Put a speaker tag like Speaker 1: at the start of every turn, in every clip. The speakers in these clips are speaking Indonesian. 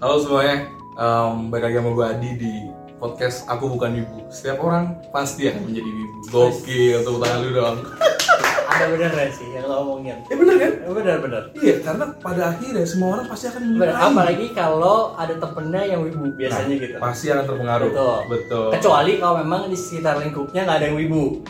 Speaker 1: Halo semuanya, Em balik lagi sama gue Adi di podcast Aku Bukan Wibu Setiap orang pasti akan menjadi wibu Gokil, tepuk tangan lu dong
Speaker 2: ada benernya sih yang lo omongin
Speaker 1: Ya bener kan?
Speaker 2: bener bener
Speaker 1: Iya, karena pada akhirnya semua orang pasti akan
Speaker 2: bener
Speaker 1: menyukai.
Speaker 2: apalagi kalau ada temennya yang wibu biasanya gitu
Speaker 1: Pasti akan terpengaruh
Speaker 2: Betul.
Speaker 1: Nah, Betul
Speaker 2: kecuali kalau memang di sekitar lingkupnya nggak ada yang wibu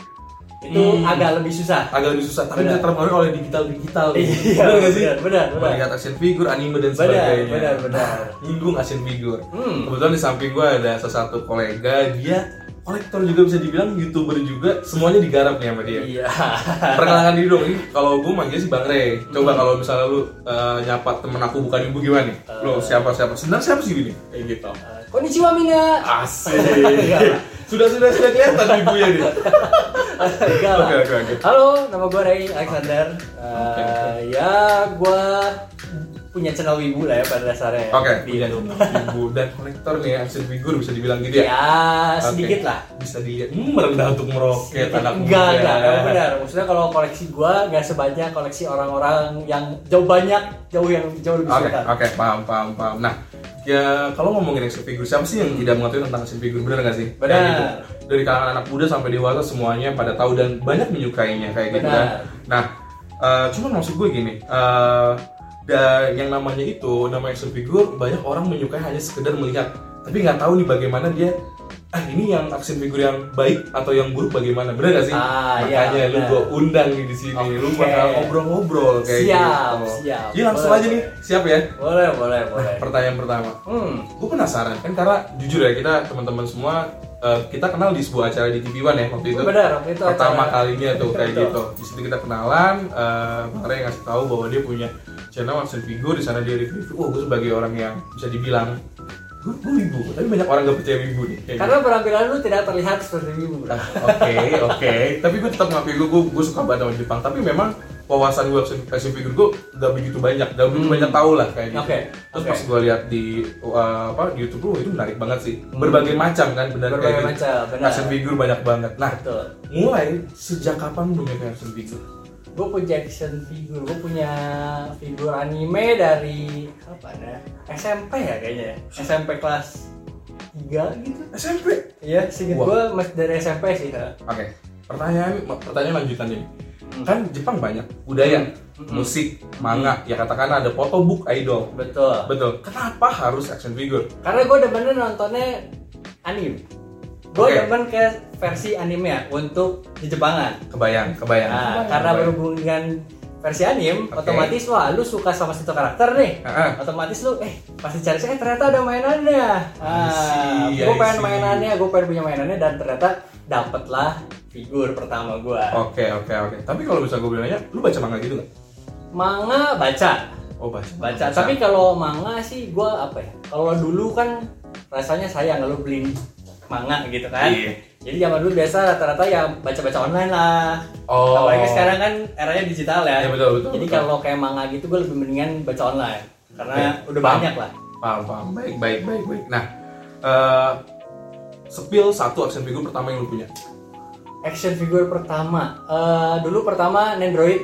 Speaker 2: itu
Speaker 1: Hmm.
Speaker 2: agak lebih susah
Speaker 1: Agak lebih susah, tapi
Speaker 2: Bener.
Speaker 1: kita terpengaruh oleh digital-digital
Speaker 2: iya
Speaker 1: Bener gak sih?
Speaker 2: bener bener bener
Speaker 1: Banyak action figure, anime dan
Speaker 2: bener
Speaker 1: sebagainya Nah,
Speaker 2: bener bener
Speaker 1: Nyinggung action figure
Speaker 2: hmm
Speaker 1: Kebetulan di samping gue ada salah satu kolega, dia kolektor juga bisa dibilang youtuber juga semuanya digarap nih sama dia
Speaker 2: iya
Speaker 1: Perkenalkan diri dong, ini kalau gue manggil sih Bang Rey
Speaker 2: Hmm.
Speaker 1: Coba kalau misalnya lu eh, nyapa temen aku bukan ibu gimana nih?
Speaker 2: Eh.
Speaker 1: Lu siapa-siapa? Sebenarnya siapa sih gini? Kayak gitu
Speaker 2: konnichiwa mina
Speaker 1: Asik
Speaker 2: Enggak lah.
Speaker 1: Sudah-sudah sudah kelihatan ibunya nih
Speaker 2: enggak lah
Speaker 1: Oke oke oke
Speaker 2: halo nama gue Ray Alexander
Speaker 1: Oke,
Speaker 2: Eh, ya gue punya channel wibu lah ya pada dasarnya ya,
Speaker 1: Oke,
Speaker 2: di
Speaker 1: punya
Speaker 2: YouTube.
Speaker 1: ibu dan kolektor nih action figure bisa dibilang gitu ya?
Speaker 2: ya
Speaker 1: Oke.
Speaker 2: sedikit lah
Speaker 1: Bisa dilihat, hmm, merendah untuk meroket anak
Speaker 2: enggak, enggak, enggak benar. Maksudnya kalau koleksi gua nggak sebanyak koleksi orang-orang yang jauh banyak, jauh yang jauh lebih
Speaker 1: Oke,
Speaker 2: suka.
Speaker 1: oke, paham, paham, paham. Nah, ya kalau ngomongin action figure, siapa sih yang tidak mengetahui tentang action figure? Benar nggak sih? Kayak
Speaker 2: Benar.
Speaker 1: gitu. Dari kalangan anak muda sampai dewasa semuanya pada tahu dan banyak menyukainya kayak gitu
Speaker 2: Benar.
Speaker 1: kan. Nah, eh, cuman maksud gue gini, eh, da- yang namanya itu nama action figure banyak orang menyukai hanya sekedar melihat, tapi nggak tahu nih bagaimana dia ah ini yang action figure yang baik atau yang buruk bagaimana benar nggak sih
Speaker 2: Ah,
Speaker 1: makanya
Speaker 2: iya,
Speaker 1: lu
Speaker 2: benar.
Speaker 1: gue undang nih di sini lu
Speaker 2: Oke.
Speaker 1: bakal ngobrol-ngobrol kayak
Speaker 2: Siap,
Speaker 1: gitu
Speaker 2: siap.
Speaker 1: Jadi langsung
Speaker 2: Boleh,
Speaker 1: aja nih
Speaker 2: boleh.
Speaker 1: siap ya
Speaker 2: Boleh, boleh, boleh.
Speaker 1: Pertanyaan pertama,
Speaker 2: Hmm,
Speaker 1: gue penasaran kan karena jujur ya kita teman-teman semua eh, kita kenal di sebuah acara di TV One ya waktu itu.
Speaker 2: Benar, waktu itu
Speaker 1: pertama
Speaker 2: acara.
Speaker 1: kalinya tuh kayak
Speaker 2: Betul.
Speaker 1: gitu. Di situ kita kenalan, eh Bang Ray ngasih tahu bahwa dia punya channel action figure di sana dia review. Wah, gue sebagai orang yang bisa dibilang gue gue wibu, tapi banyak orang gak percaya wibu nih. kayak
Speaker 2: karena penampilan lu tidak terlihat seperti wibu.
Speaker 1: Nah, Oke, oke. Tapi gue tetap ngakui gue, gue, gue suka banget sama Jepang. Tapi memang wawasan gue action, action figure gue gak begitu banyak, gak begitu
Speaker 2: Hmm.
Speaker 1: banyak tahu lah kayak gitu.
Speaker 2: Oke,
Speaker 1: Terus
Speaker 2: oke.
Speaker 1: pas gue lihat di uh, apa di YouTube lu itu menarik banget sih. Berbagai macam kan, benar
Speaker 2: Hmm. Berbagai
Speaker 1: kayak
Speaker 2: macam,
Speaker 1: gitu.
Speaker 2: benar.
Speaker 1: Action figure banyak banget. Nah,
Speaker 2: Betul.
Speaker 1: mulai sejak kapan lu punya action figure?
Speaker 2: Gue punya action figure, gue punya figur anime dari apa ya? SMP ya kayaknya. ya. SMP kelas 3 gitu.
Speaker 1: SMP.
Speaker 2: Iya, singkat
Speaker 1: Wah.
Speaker 2: gue masih dari SMP sih. ha.
Speaker 1: Oke. Pertanyaan pertanyaan lanjutan ini. Kan Jepang banyak budaya,
Speaker 2: Hmm.
Speaker 1: musik, manga, ya katakanlah ada photobook idol.
Speaker 2: Betul.
Speaker 1: Betul. Kenapa harus action figure?
Speaker 2: Karena gue demennya nontonnya anime. Gue
Speaker 1: Oke.
Speaker 2: demen ke versi anime ya untuk di Jepangan.
Speaker 1: Kebayang, kebayang.
Speaker 2: Nah,
Speaker 1: Kebayang,
Speaker 2: karena
Speaker 1: kebayang.
Speaker 2: berhubungan dengan versi anime,
Speaker 1: Ya. Oke.
Speaker 2: otomatis wah lu suka sama satu karakter nih.
Speaker 1: Ah, ah.
Speaker 2: Otomatis lu eh pasti cari eh ternyata ada mainannya. Ah,
Speaker 1: I see,
Speaker 2: gue
Speaker 1: I
Speaker 2: pengen
Speaker 1: see.
Speaker 2: mainannya, gue pengen punya mainannya dan ternyata dapatlah figur pertama gue.
Speaker 1: Oke, oke, oke. Tapi kalau bisa gue bilangnya, lu baca manga gitu nggak?
Speaker 2: Manga baca,
Speaker 1: Oh, baca.
Speaker 2: baca. Tapi kalau manga sih gue apa ya? Kalau dulu kan rasanya sayang lu beli manga gitu kan.
Speaker 1: Iya.
Speaker 2: Jadi zaman dulu biasa rata-rata yang baca-baca online lah.
Speaker 1: Oh.
Speaker 2: Apalagi sekarang kan eranya digital ya.
Speaker 1: Iya, betul, betul,
Speaker 2: Jadi
Speaker 1: betul.
Speaker 2: kalau kayak manga gitu gue lebih mendingan baca online karena
Speaker 1: Iya,
Speaker 2: udah
Speaker 1: paham.
Speaker 2: banyak lah.
Speaker 1: Paham, paham. Baik, baik, baik, baik. Nah, eh spill satu action figure pertama yang lu punya.
Speaker 2: Action figure pertama, Eh, dulu pertama Nendroid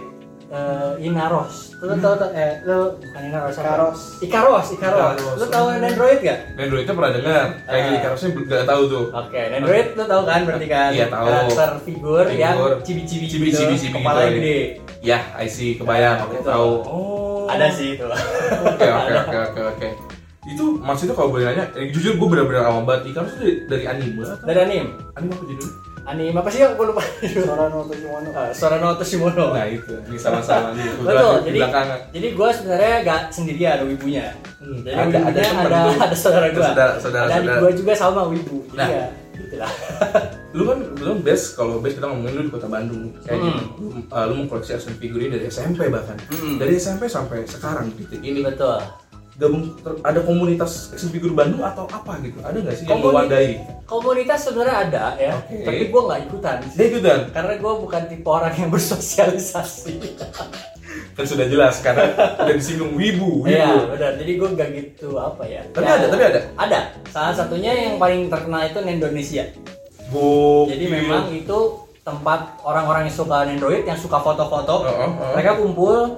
Speaker 2: eh, Inaros. Lu tau tau eh lu bukan Inaros apa?
Speaker 3: Ikaros.
Speaker 2: Ikaros, Ikaros.
Speaker 1: Ikaros.
Speaker 2: Lu tau Nendroid gak?
Speaker 1: Nendro itu pernah dengar. Kayak
Speaker 2: Ah.
Speaker 1: gini, harusnya nggak tahu tuh.
Speaker 2: Oke, Nendroid lu tau kan berarti kan
Speaker 1: Iya, tahu.
Speaker 2: karakter figur yang
Speaker 1: Figur.
Speaker 2: cibi-cibi
Speaker 1: Cibi-cibi,
Speaker 2: gitu,
Speaker 1: cibi
Speaker 2: kepala
Speaker 1: gitu,
Speaker 2: gede.
Speaker 1: Ya, I see, kebayang.
Speaker 2: Ah,
Speaker 1: Aku
Speaker 2: betul.
Speaker 1: tahu. Oh.
Speaker 2: Ada sih itu.
Speaker 1: Oke, oke, oke, oke, oke. Itu maksudnya kalau boleh nanya, eh, jujur gue benar-benar awam banget. Ikan itu dari, dari anime atau
Speaker 2: Dan anime.
Speaker 1: anime apa judulnya?
Speaker 2: Anime apa sih? Gue lupa.
Speaker 3: Soran waktu Shimono.
Speaker 2: Eh, Sorano Toshimono.
Speaker 1: Nah itu, ini sama-sama nih.
Speaker 2: Betul.
Speaker 1: Di
Speaker 2: Jadi
Speaker 1: belakangan.
Speaker 2: jadi gue sebenarnya gak sendirian ada wibunya.
Speaker 1: Hmm,
Speaker 2: Jadi
Speaker 1: ada-
Speaker 2: ada,
Speaker 1: ada
Speaker 2: ada,
Speaker 1: temen
Speaker 2: ada,
Speaker 1: tuh.
Speaker 2: saudara gue.
Speaker 1: Ada saudara- saudara-
Speaker 2: ada adik
Speaker 1: saudara.
Speaker 2: gue juga sama wibu. Jadi
Speaker 1: Nah.
Speaker 2: ya gitu lah.
Speaker 1: lu kan belum best kalau best kita ngomongin lu di kota Bandung kayak
Speaker 2: Hmm.
Speaker 1: gitu lu, uh, lu mengkoleksi action figure ini dari SMP bahkan
Speaker 2: Hmm.
Speaker 1: dari SMP sampai sekarang titik ini
Speaker 2: Iya, Betul.
Speaker 1: gabung ter- ada komunitas action figure Bandung atau apa gitu ada nggak sih yang
Speaker 2: Komunitas-
Speaker 1: mewadai
Speaker 2: Komunitas sebenarnya ada ya,
Speaker 1: Oke.
Speaker 2: tapi gue nggak ikutan.
Speaker 1: dia ikutan
Speaker 2: Karena gue bukan tipe orang yang bersosialisasi.
Speaker 1: kan sudah jelas karena udah disinggung wibu wibu
Speaker 2: Iya, benar. Jadi gue nggak gitu apa ya.
Speaker 1: Tapi
Speaker 2: Ya,
Speaker 1: ada, tapi ada.
Speaker 2: Ada. Salah satunya yang paling terkenal itu Indonesia.
Speaker 1: Gokil.
Speaker 2: Jadi memang itu tempat orang-orang yang suka Android yang suka
Speaker 1: Oh,
Speaker 2: foto-foto.
Speaker 1: oh, oh.
Speaker 2: Mereka kumpul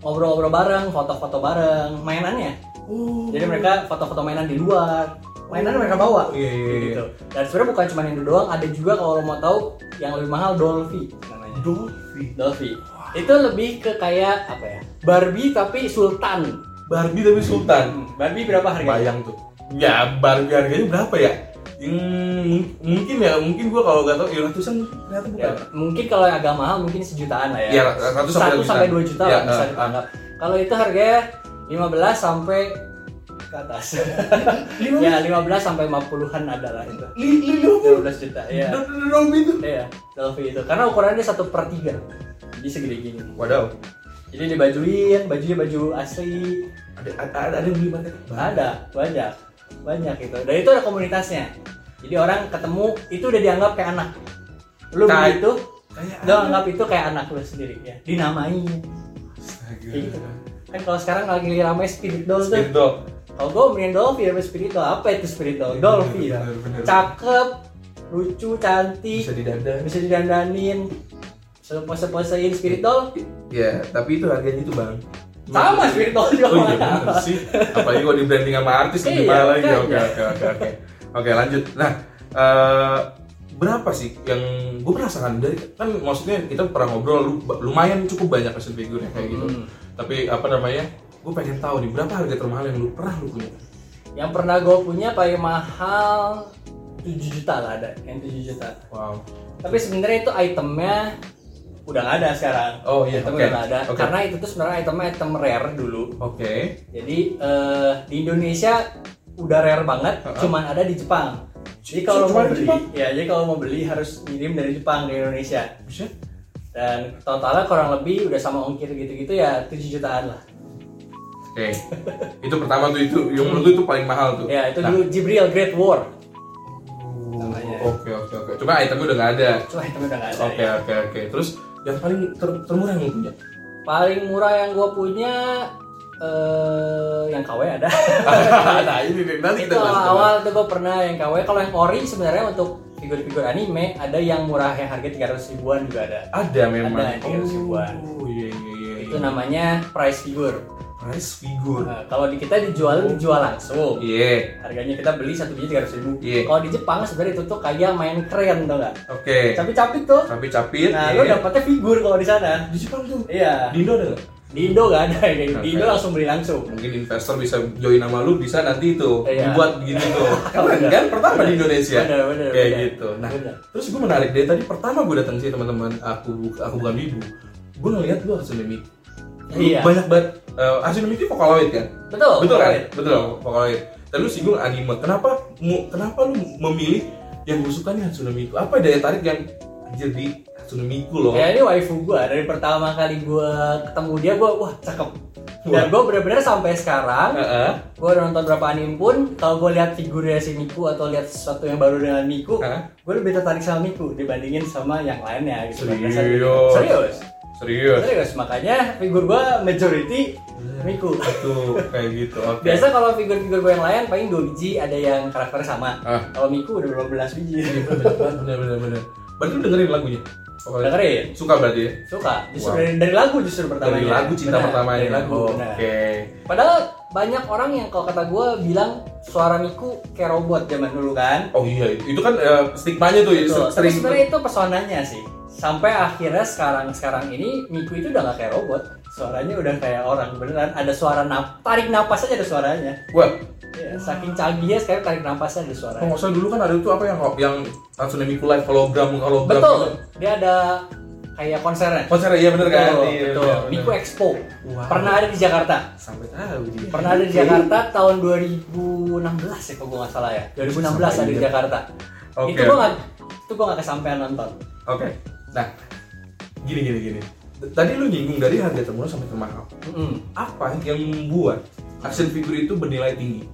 Speaker 2: ngobrol-ngobrol bareng, foto-foto bareng, mainannya.
Speaker 1: Oh.
Speaker 2: Jadi mereka foto-foto mainan di luar. Mainan mereka bawa.
Speaker 1: Iya, iya, iya.
Speaker 2: Gitu. Dan sebenarnya bukan cuma Indo doang, ada juga kalau lo mau tahu yang lebih mahal Dolphy namanya.
Speaker 1: Dolphy.
Speaker 2: Dolphy. Itu lebih ke kayak apa ya? Barbie tapi sultan.
Speaker 1: Barbie tapi Sultan.
Speaker 2: Barbie berapa harganya?
Speaker 1: Bayang tuh. Ya Barbie harganya berapa ya? Hmm, mungkin ya, mungkin gua kalau nggak tahu ya ratusan ternyata bukan.
Speaker 2: Ya, mungkin kalau yang agak mahal mungkin sejutaan lah ya.
Speaker 1: Iya, ratus sampai
Speaker 2: Satu
Speaker 1: dua
Speaker 2: sampai
Speaker 1: jutaan.
Speaker 2: dua juta
Speaker 1: Iya,
Speaker 2: lah bisa
Speaker 1: eh,
Speaker 2: dianggap. Kalau itu harganya 15 sampai ke atas. ya 15 sampai 50-an adalah itu.
Speaker 1: Li- li- li-
Speaker 2: 15 juta ya.
Speaker 1: Dol- dol- dol- itu.
Speaker 2: Iya, selfie itu. Karena ukurannya satu per tiga. Jadi segede gini.
Speaker 1: Wadaw.
Speaker 2: Jadi dibajuin, bajunya baju asli.
Speaker 1: Ada ada ada, ada yang beli pakai
Speaker 2: Ada, banyak, banyak itu. Dan itu ada komunitasnya. Jadi orang ketemu itu udah dianggap kayak anak. Lu
Speaker 1: Kayak-
Speaker 2: beli itu,
Speaker 1: Kayak
Speaker 2: lu
Speaker 1: ada.
Speaker 2: anggap itu kayak anak lu sendiri ya. Dinamain.
Speaker 1: Astaga.
Speaker 2: Kayak gitu. Kan kalau sekarang lagi rame spirit doll tuh.
Speaker 1: Speed dog.
Speaker 2: Kalau gue mending Dolphy daripada spirit doll. Apa itu spirit doll? Dolphy ya.
Speaker 1: Iya, Bener, bener.
Speaker 2: Cakep, lucu, cantik.
Speaker 1: Bisa didandan.
Speaker 2: bisa didandanin bisa pose-posein spirit doll
Speaker 1: Ya, tapi itu harganya itu bang.
Speaker 2: sama spirit doll juga
Speaker 1: Iya. Oh iya bener sih. Apalagi kalau di branding sama artis lebih
Speaker 2: Iya,
Speaker 1: mahal lagi.
Speaker 2: makanya.
Speaker 1: Oke oke oke oke. Oke lanjut. Nah eh, berapa sih yang gue penasaran dari kan maksudnya kita pernah ngobrol lu- lumayan cukup banyak action figure kayak gitu.
Speaker 2: Hmm.
Speaker 1: Tapi apa namanya? Gue pengen tahu nih berapa harga termahal yang lu pernah lu punya?
Speaker 2: yang pernah gue punya paling mahal 7 juta lah ada yang 7 juta
Speaker 1: Wow.
Speaker 2: tapi sebenarnya itu itemnya udah nggak ada sekarang
Speaker 1: Oh, iya,
Speaker 2: itemnya
Speaker 1: oke,
Speaker 2: udah nggak ada
Speaker 1: oke.
Speaker 2: karena itu tuh sebenarnya itemnya item rare dulu
Speaker 1: Oke.
Speaker 2: jadi eh, di Indonesia udah rare banget
Speaker 1: Ha-ha.
Speaker 2: cuman ada di Jepang jadi
Speaker 1: C-
Speaker 2: kalau
Speaker 1: cuma
Speaker 2: mau
Speaker 1: di
Speaker 2: beli
Speaker 1: Jepang?
Speaker 2: ya jadi kalau mau beli harus ngirim dari Jepang ke Indonesia
Speaker 1: Buset.
Speaker 2: dan totalnya kurang lebih udah sama ongkir gitu-gitu ya 7 jutaan lah
Speaker 1: Oke. itu pertama tuh itu yang menurut lu itu paling mahal tuh.
Speaker 2: ya itu
Speaker 1: Nah,
Speaker 2: dulu Jibril Great War namanya.
Speaker 1: Oke oke oke. Cuma itemnya udah nggak ada.
Speaker 2: cuma itu udah gak ada
Speaker 1: Oke
Speaker 2: ya.
Speaker 1: oke oke. Terus yang paling ter- termurah yang lu punya?
Speaker 2: paling murah yang gue punya eh yang KW ada
Speaker 1: nah ini nih, nanti
Speaker 2: itu
Speaker 1: kita bahas. kita bahas.
Speaker 2: awal itu gue pernah yang KW kalau yang ori sebenarnya untuk figur-figur anime ada yang murah yang harga 300 ribuan juga ada
Speaker 1: Ada memang.
Speaker 2: Ada, tiga ratus ribuan.
Speaker 1: Oh iya iya iya.
Speaker 2: itu namanya price figure
Speaker 1: price figure.
Speaker 2: Nah, kalau di kita dijual dijual langsung
Speaker 1: Iya.
Speaker 2: harganya kita beli satu biji 300 ribu
Speaker 1: Iya.
Speaker 2: kalau di Jepang sebenarnya itu tuh kayak main keren tau gak
Speaker 1: Oke.
Speaker 2: capit-capit tuh
Speaker 1: Tapi capit.
Speaker 2: Nah,
Speaker 1: iya.
Speaker 2: lo dapetnya figur kalau di sana.
Speaker 1: di Jepang tuh.
Speaker 2: Iya.
Speaker 1: Di Indo ada nggak?
Speaker 2: Di Indo nggak ada kayak gitu. Di
Speaker 1: Oke.
Speaker 2: Indo langsung beli langsung.
Speaker 1: Mungkin investor bisa join sama lu bisa nanti itu
Speaker 2: Iya.
Speaker 1: dibuat gitu tuh. Keren
Speaker 2: Bener.
Speaker 1: kan pertama di Indonesia.
Speaker 2: Bener, bener,
Speaker 1: Kayak
Speaker 2: bener.
Speaker 1: gitu. Nah,
Speaker 2: Bener.
Speaker 1: terus gue menarik deh tadi pertama gue datang sih teman-teman aku bu- aku bukan ibu. Gue ngeliat lu Hasunemi. Lu
Speaker 2: Iya. Oh,
Speaker 1: Banyak banget. Eh, Hasunemi itu Vocaloid kan?
Speaker 2: Betul.
Speaker 1: betul kan
Speaker 2: Polaroid.
Speaker 1: betul pokoknya dan lu singgung anime kenapa mu, kenapa lu memilih yang gue suka nih Hatsune Miku apa daya tarik yang anjir di Hatsune Miku loh
Speaker 2: Ya ini waifu gua dari pertama kali gua ketemu dia gua wah cakep. Dan
Speaker 1: Wah.
Speaker 2: gua bener-bener sampai sekarang
Speaker 1: Heeh.
Speaker 2: gua udah nonton berapa anime pun kalau gua lihat figurnya si Miku atau lihat sesuatu yang baru dengan Miku,
Speaker 1: Hah?
Speaker 2: gua lebih tertarik sama Miku dibandingin sama yang lainnya gitu.
Speaker 1: Serius?
Speaker 2: Serius.
Speaker 1: serius
Speaker 2: Serius, makanya figur gua majority Miku.
Speaker 1: tuh kayak gitu oke
Speaker 2: Biasa kalau figur-figur gue yang lain paling dua biji ada yang karakter sama.
Speaker 1: Ah.
Speaker 2: Kalau Miku udah berapa belas biji.
Speaker 1: bener bener bener berarti lu dengerin lagunya Vocaloid?
Speaker 2: Dengerin.
Speaker 1: suka berarti ya
Speaker 2: Suka. Justru
Speaker 1: Wow.
Speaker 2: dari, dari lagu justru pertamanya.
Speaker 1: dari lagu cinta
Speaker 2: Benar,
Speaker 1: pertamanya Oh,
Speaker 2: Dari lagu.
Speaker 1: oke
Speaker 2: benar. Padahal banyak orang yang kalau kata gue bilang suara Miku kayak robot zaman dulu kan.
Speaker 1: oh iya itu kan eh, stigmanya tuh ya,
Speaker 2: Betul. Tapi
Speaker 1: sering
Speaker 2: sebenarnya itu pesonanya sih. Sampai akhirnya sekarang-sekarang ini Miku itu udah gak kayak robot. Suaranya udah kayak orang beneran. Ada suara nap tarik napas aja ada suaranya.
Speaker 1: wah
Speaker 2: Iya, Saking canggihnya sekarang tarik napasnya ada suaranya.
Speaker 1: kalau nggak salah dulu kan ada tuh apa yang yang Hatsune Miku live hologram hologram
Speaker 2: Betul.
Speaker 1: gitu.
Speaker 2: Dia ada kayak konsernya.
Speaker 1: konser iya bener kan
Speaker 2: Betul,
Speaker 1: Iya,
Speaker 2: betul.
Speaker 1: bener, bener.
Speaker 2: Miku Expo.
Speaker 1: Wow.
Speaker 2: Pernah ada di Jakarta.
Speaker 1: sampai tahu dia
Speaker 2: Pernah ada di Jakarta tahun 2016 ya kalau gue nggak salah ya. 2016 ada di
Speaker 1: Sampai
Speaker 2: Jakarta.
Speaker 1: Oke,
Speaker 2: Itu gue nggak itu gue nggak kesampaian nonton.
Speaker 1: Oke. Nah, gini gini gini. D- Tadi lu nyinggung dari harga termurah sampai termahal.
Speaker 2: Mm-mm.
Speaker 1: Apa yang membuat action figure itu bernilai tinggi?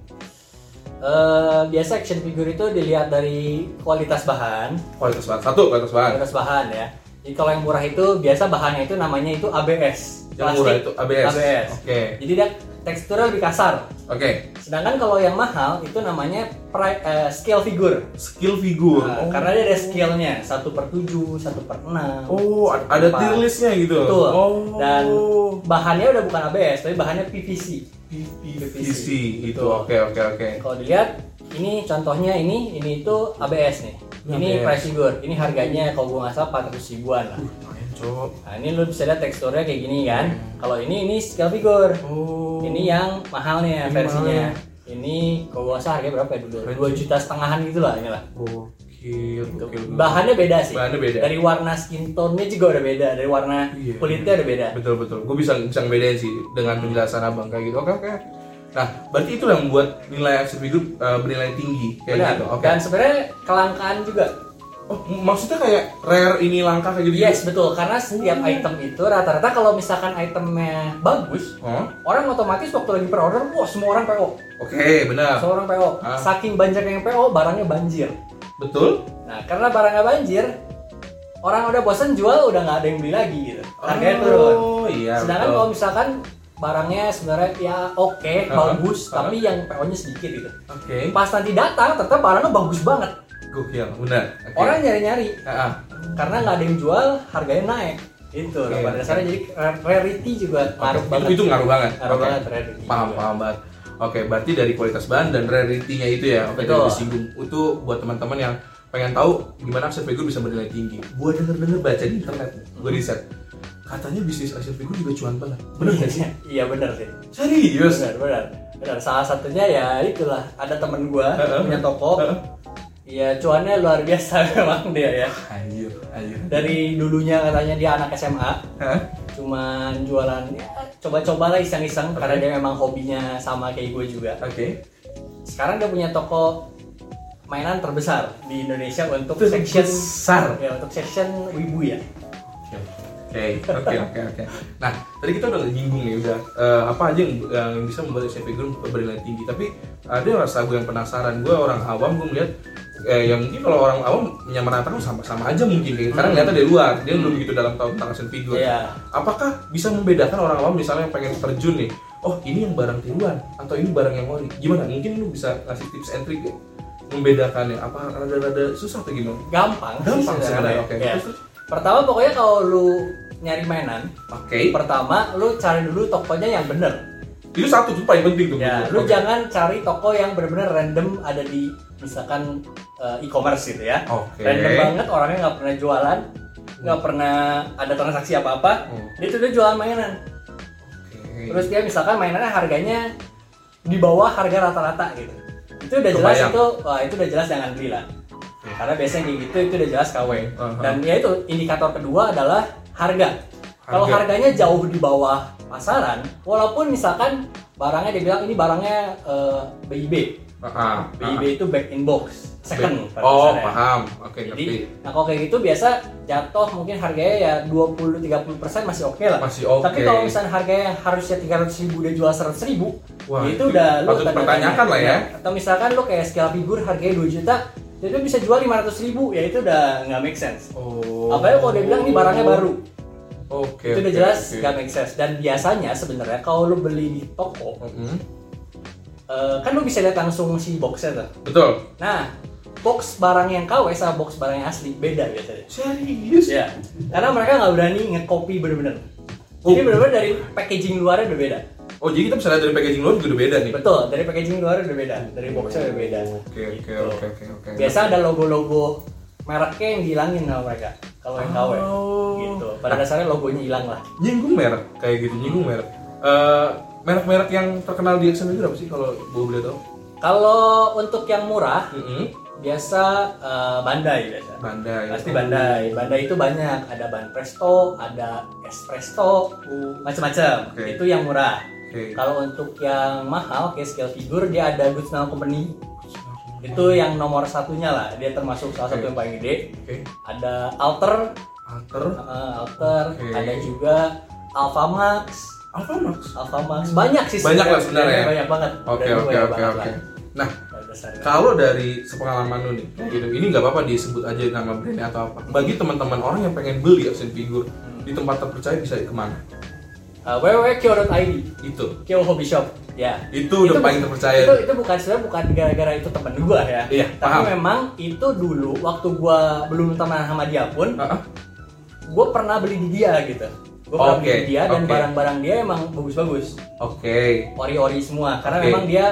Speaker 2: Eh, biasa action figure itu dilihat dari kualitas bahan,
Speaker 1: Kualitas bahan satu, kualitas bahan.
Speaker 2: kualitas bahan ya. Jadi kalau yang murah itu biasa bahannya itu namanya itu ABS.
Speaker 1: Yang
Speaker 2: Plastik.
Speaker 1: murah itu ABS.
Speaker 2: ABS.
Speaker 1: Oke.
Speaker 2: Jadi dia teksturnya lebih kasar.
Speaker 1: Oke.
Speaker 2: Sedangkan kalau yang mahal itu namanya pri- eh, scale figure.
Speaker 1: Skill figur.
Speaker 2: Nah,
Speaker 1: Oh.
Speaker 2: Karena dia ada scale-nya, 1 per 7, 1 per 6
Speaker 1: Oh, a- ada tier listnya gitu.
Speaker 2: Betul.
Speaker 1: Oh.
Speaker 2: Dan bahannya udah bukan ABS, tapi bahannya PVC
Speaker 1: PVC itu.
Speaker 2: Betul.
Speaker 1: gitu. Oke, oke, oke.
Speaker 2: Kalau dilihat, ini contohnya ini, ini itu ABS nih
Speaker 1: Ini
Speaker 2: Ini
Speaker 1: ABS.
Speaker 2: price figure, ini harganya kalau gua nggak salah 400 ribuan lah
Speaker 1: Lumayan, Cok.
Speaker 2: Nah ini lu bisa lihat teksturnya kayak gini kan Kalau ini, ini scale figure
Speaker 1: Oh.
Speaker 2: Ini yang mahal nih
Speaker 1: Ini
Speaker 2: versinya
Speaker 1: mahal. ya?
Speaker 2: Ini kalau gua nggak salah harganya berapa ya? dulu?
Speaker 1: Keren
Speaker 2: 2 juta setengahan gitu lah inilah
Speaker 1: Gokil,
Speaker 2: Gitu.
Speaker 1: gokil.
Speaker 2: Bahannya beda sih.
Speaker 1: Bahannya beda.
Speaker 2: Dari warna skin tone-nya juga udah beda, dari warna
Speaker 1: Iya,
Speaker 2: kulitnya
Speaker 1: iya.
Speaker 2: udah beda. Hmm.
Speaker 1: Betul betul. Gue bisa bisa ngebedain sih dengan penjelasan abang kayak gitu. Oke oke. Nah, berarti itu yang membuat nilai aksi hidup eh, bernilai tinggi kayak
Speaker 2: Benar.
Speaker 1: gitu. Oke.
Speaker 2: Dan sebenarnya kelangkaan juga.
Speaker 1: Oh, m- maksudnya kayak rare ini langka kayak gitu.
Speaker 2: Yes, betul. Karena setiap
Speaker 1: Iya.
Speaker 2: item itu rata-rata kalau misalkan itemnya bagus,
Speaker 1: Hah?
Speaker 2: orang otomatis waktu lagi pre-order, wah semua orang PO.
Speaker 1: Oh, Oke, benar.
Speaker 2: Semua orang PO.
Speaker 1: Ah.
Speaker 2: Saking banyaknya yang PO, barangnya banjir.
Speaker 1: betul.
Speaker 2: Nah, karena barangnya banjir, orang udah bosen jual, udah nggak ada yang beli lagi gitu. Harganya turun.
Speaker 1: Oh, iya.
Speaker 2: Sedangkan
Speaker 1: betul.
Speaker 2: kalau misalkan barangnya sebenarnya ya oke,
Speaker 1: Uh-huh.
Speaker 2: bagus,
Speaker 1: Uh-huh.
Speaker 2: tapi yang PO-nya sedikit gitu.
Speaker 1: Oke.
Speaker 2: Pas nanti datang, tetap barangnya bagus banget.
Speaker 1: Gokil, benar. Oke.
Speaker 2: Orang nyari-nyari
Speaker 1: Ah, ah.
Speaker 2: karena nggak ada yang jual, harganya naik. Itu
Speaker 1: Oke.
Speaker 2: nah, pada dasarnya jadi ra- rarity juga
Speaker 1: Oke,
Speaker 2: ngaruh banget.
Speaker 1: itu, itu ngaruh banget.
Speaker 2: Ngaruh
Speaker 1: Oke.
Speaker 2: banget rarity.
Speaker 1: Paham,
Speaker 2: juga.
Speaker 1: paham banget. Oke, berarti dari kualitas bahan dan rarity-nya itu ya. Oke,
Speaker 2: Betul.
Speaker 1: tadi disinggung. Itu buat teman-teman yang pengen tahu gimana action figure bisa bernilai tinggi. Gua denger-denger baca di internet, gua riset. Katanya bisnis action figure juga cuan banget. Bener gak sih?
Speaker 2: Hmm. Iya benar sih.
Speaker 1: Serius?
Speaker 2: Benar, benar. Benar. Salah satunya ya itulah ada temen gua
Speaker 1: Uh-uh.
Speaker 2: punya toko.
Speaker 1: Uh-uh.
Speaker 2: Iya, cuannya luar biasa memang dia ya.
Speaker 1: Anjir, anjir.
Speaker 2: Dari dulunya katanya dia anak SMA,
Speaker 1: Hah?
Speaker 2: cuman jualan ya, coba-coba lah iseng-iseng
Speaker 1: Oke.
Speaker 2: karena dia memang hobinya sama kayak gue juga
Speaker 1: Oke.
Speaker 2: sekarang dia punya toko mainan terbesar di Indonesia untuk
Speaker 1: Section
Speaker 2: section
Speaker 1: besar.
Speaker 2: ya untuk section wibu ya
Speaker 1: Oke, oke, oke, oke. Nah, tadi kita udah nyinggung nih, udah eh, apa aja yang, yang bisa membuat action figure bernilai tinggi. Tapi ada yang rasa gue yang penasaran. Gue orang awam, gue melihat eh, yang mungkin kalau orang awam menyamaratakan sama-sama aja mungkin. Kayak, Karena ngeliatnya dari luar, dia belum begitu dalam tahu tentang action figure.
Speaker 2: Hmm. Iya.
Speaker 1: Apakah bisa membedakan orang awam misalnya yang pengen terjun nih? Oh, ini yang barang tiruan atau ini barang yang ori? Gimana? Mungkin lu bisa ngasih tips and trick ya? membedakannya? Apa rada-rada susah atau gimana?
Speaker 2: gampang sih
Speaker 1: Gampang sebenarnya, oke.
Speaker 2: Ya.
Speaker 1: Terus, terus.
Speaker 2: pertama pokoknya kalau lu nyari mainan
Speaker 1: Oke,
Speaker 2: pertama lu cari dulu tokonya yang bener
Speaker 1: itu satu tuh paling penting tuh.
Speaker 2: ya
Speaker 1: menurut
Speaker 2: lu
Speaker 1: gua.
Speaker 2: jangan cari toko yang bener-bener random ada di misalkan eh, e-commerce gitu ya
Speaker 1: Oke.
Speaker 2: random banget orangnya nggak pernah jualan nggak pernah ada transaksi apa-apa
Speaker 1: Hmm.
Speaker 2: dia tuh dia jualan mainan
Speaker 1: Oke.
Speaker 2: terus dia misalkan mainannya harganya di bawah harga rata-rata gitu itu udah jelas
Speaker 1: Kebayang.
Speaker 2: itu wah, itu udah jelas jangan beli lah karena biasanya kayak gitu itu udah jelas KW
Speaker 1: Aha.
Speaker 2: dan ya itu indikator kedua adalah harga kalau
Speaker 1: Harga.
Speaker 2: harganya jauh di bawah pasaran walaupun misalkan barangnya dibilang ini barangnya eh, BIB
Speaker 1: Ah, ah,
Speaker 2: BIB
Speaker 1: ah.
Speaker 2: itu back in box second pada
Speaker 1: Oh,
Speaker 2: dasarnya.
Speaker 1: paham. Oke, ngerti.
Speaker 2: Jadi, nah kalau kayak gitu biasa jatuh mungkin harganya ya 20-30% masih oke lah.
Speaker 1: Masih oke.
Speaker 2: Tapi kalau misalnya harganya yang harusnya 300 ribu udah jual 100 ribu, ya
Speaker 1: Wah,
Speaker 2: itu,
Speaker 1: itu
Speaker 2: udah lu
Speaker 1: patut
Speaker 2: tanda-tanya.
Speaker 1: dipertanyakan lah ya.
Speaker 2: Atau misalkan lu kayak scale figur harganya 2 juta, jadi lu bisa jual 500 ribu, ya itu udah nggak make sense.
Speaker 1: Oh.
Speaker 2: Apalagi ya kalau dia bilang ini barangnya baru,
Speaker 1: Oke.
Speaker 2: itu udah
Speaker 1: oke,
Speaker 2: jelas
Speaker 1: oke.
Speaker 2: nggak make sense. Dan biasanya sebenarnya kalau lu beli di toko,
Speaker 1: Mm-mm.
Speaker 2: eh, kan lu bisa lihat langsung si boxnya tuh.
Speaker 1: Betul.
Speaker 2: Nah, box barang yang KW sama box barang yang asli beda biasanya.
Speaker 1: Serius?
Speaker 2: Ya, karena mereka nggak berani ngekopi bener-bener.
Speaker 1: Oh.
Speaker 2: Jadi bener-bener dari packaging luarnya udah beda.
Speaker 1: Oh, jadi kita bisa lihat dari packaging luar juga udah beda nih.
Speaker 2: Betul, dari packaging luarnya udah beda, dari boxnya udah beda.
Speaker 1: Oh. Oke, oke,
Speaker 2: Gitu.
Speaker 1: oke, oke, oke.
Speaker 2: Biasa ada logo-logo mereknya yang dihilangin sama mereka kalau yang KW.
Speaker 1: Oh.
Speaker 2: Gitu. Pada dasarnya logonya hilang lah.
Speaker 1: Nyinggung merek kayak gitu,
Speaker 2: Hmm.
Speaker 1: nyinggung merek. Eh, merek-merek yang terkenal di Action itu apa sih kalau gue boleh tahu?
Speaker 2: Kalau untuk yang murah
Speaker 1: Mm-mm.
Speaker 2: biasa eh, Bandai biasa.
Speaker 1: Bandai.
Speaker 2: Pasti Bandai. Bandai itu banyak, ada Ban Presto, ada Espresso, macam-macam.
Speaker 1: Oke.
Speaker 2: Itu yang murah.
Speaker 1: Oke.
Speaker 2: Kalau untuk yang mahal kayak scale figure dia ada Good Now Company. Itu yang nomor satunya lah. Dia termasuk salah satu
Speaker 1: Oke.
Speaker 2: yang paling gede.
Speaker 1: Oke.
Speaker 2: Ada Alter,
Speaker 1: Hunter.
Speaker 2: eh, Alter,
Speaker 1: Oke.
Speaker 2: ada juga Alphamax,
Speaker 1: Apa Max?
Speaker 2: Alphamax. Banyak sih
Speaker 1: Banyak lah sebenarnya.
Speaker 2: Banyak banget.
Speaker 1: Oke,
Speaker 2: Udah
Speaker 1: oke,
Speaker 2: banyak
Speaker 1: oke,
Speaker 2: banget
Speaker 1: oke.
Speaker 2: lah.
Speaker 1: Nah,
Speaker 2: Pada dasarnya.
Speaker 1: Kalau dari sepengalaman lu nih,
Speaker 2: Hmm.
Speaker 1: gitu, ini nggak apa-apa disebut aja nama brandnya
Speaker 2: Hmm.
Speaker 1: atau apa. Bagi teman-teman orang yang pengen beli action figure di tempat terpercaya bisa kemana?
Speaker 2: uh, www.kyo.id
Speaker 1: itu
Speaker 2: Kyo Hobby Shop ya
Speaker 1: itu udah paling terpercaya
Speaker 2: itu itu bukan sebenarnya bukan gara-gara itu temen gua ya
Speaker 1: Iya,
Speaker 2: tapi
Speaker 1: paham.
Speaker 2: memang itu dulu waktu gua belum teman sama dia pun
Speaker 1: Ah, ah.
Speaker 2: gua pernah beli di dia gitu gua pernah beli
Speaker 1: Oke,
Speaker 2: di dia dan
Speaker 1: oke.
Speaker 2: barang-barang dia emang bagus-bagus
Speaker 1: oke
Speaker 2: ori-ori semua karena
Speaker 1: Oke.
Speaker 2: memang dia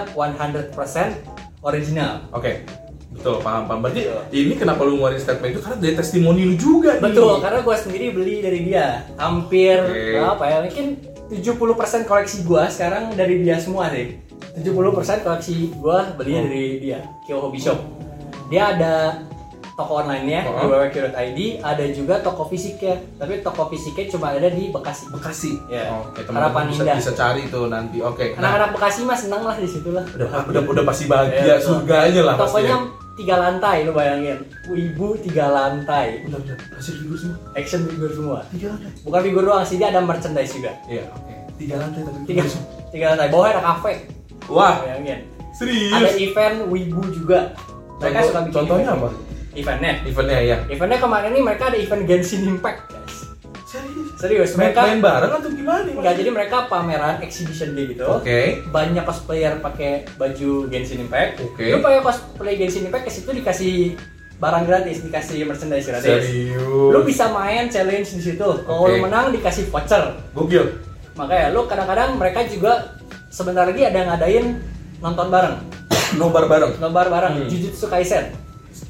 Speaker 2: 100% original
Speaker 1: oke betul paham paham berarti
Speaker 2: Betul.
Speaker 1: ini kenapa lu ngeluarin statement itu karena dari testimoni lu juga nih.
Speaker 2: Betul, kan? karena gue sendiri beli dari dia Hampir,
Speaker 1: Oke.
Speaker 2: apa ya, mungkin 70% koleksi gue sekarang dari dia semua sih 70% koleksi gue belinya
Speaker 1: Hmm.
Speaker 2: dari dia, Kyo Hobby Shop Dia ada toko online-nya di
Speaker 1: Oh.
Speaker 2: www.kyo.id Ada juga toko fisiknya, tapi toko fisiknya cuma ada di Bekasi
Speaker 1: Bekasi
Speaker 2: Iya.
Speaker 1: oke
Speaker 2: Harapan
Speaker 1: teman-teman bisa,
Speaker 2: indah.
Speaker 1: bisa cari tuh nanti oke nah
Speaker 2: Anak-anak Bekasi mah seneng lah di situ lah
Speaker 1: udah udah udah pasti bahagia
Speaker 2: Iya, betul.
Speaker 1: surganya lah Nah, pasti ya.
Speaker 2: Tokonya tiga lantai, lo bayangin Ibu tiga lantai,
Speaker 1: udah udah kasih dulu semua
Speaker 2: action figure semua
Speaker 1: tiga lantai
Speaker 2: Bukan figur doang sih, dia ada merchandise juga
Speaker 1: iya oke tiga lantai tapi
Speaker 2: tiga
Speaker 1: semua.
Speaker 2: tiga lantai bawah ada kafe
Speaker 1: wah
Speaker 2: bayangin ada
Speaker 1: serius
Speaker 2: event wibu juga mereka
Speaker 1: Contoh-
Speaker 2: suka bikin
Speaker 1: contohnya
Speaker 2: event.
Speaker 1: apa
Speaker 2: eventnya
Speaker 1: eventnya ya
Speaker 2: eventnya kemarin ini mereka ada event Genshin Impact guys
Speaker 1: serius
Speaker 2: serius
Speaker 1: main,
Speaker 2: mereka
Speaker 1: main bareng atau gimana nih, Mas?
Speaker 2: nggak jadi mereka pameran exhibition day gitu
Speaker 1: oke
Speaker 2: banyak cosplayer pakai baju Genshin Impact
Speaker 1: Oke.
Speaker 2: lu pakai cosplay Genshin Impact ke situ dikasih barang gratis dikasih merchandise gratis
Speaker 1: serius
Speaker 2: lu bisa main challenge di situ kalau
Speaker 1: Oke.
Speaker 2: lu menang dikasih voucher
Speaker 1: gokil
Speaker 2: makanya lu kadang-kadang mereka juga sebentar lagi ada ngadain nonton bareng
Speaker 1: nobar bareng
Speaker 2: nobar bareng
Speaker 1: Hmm.
Speaker 2: Jujutsu Kaisen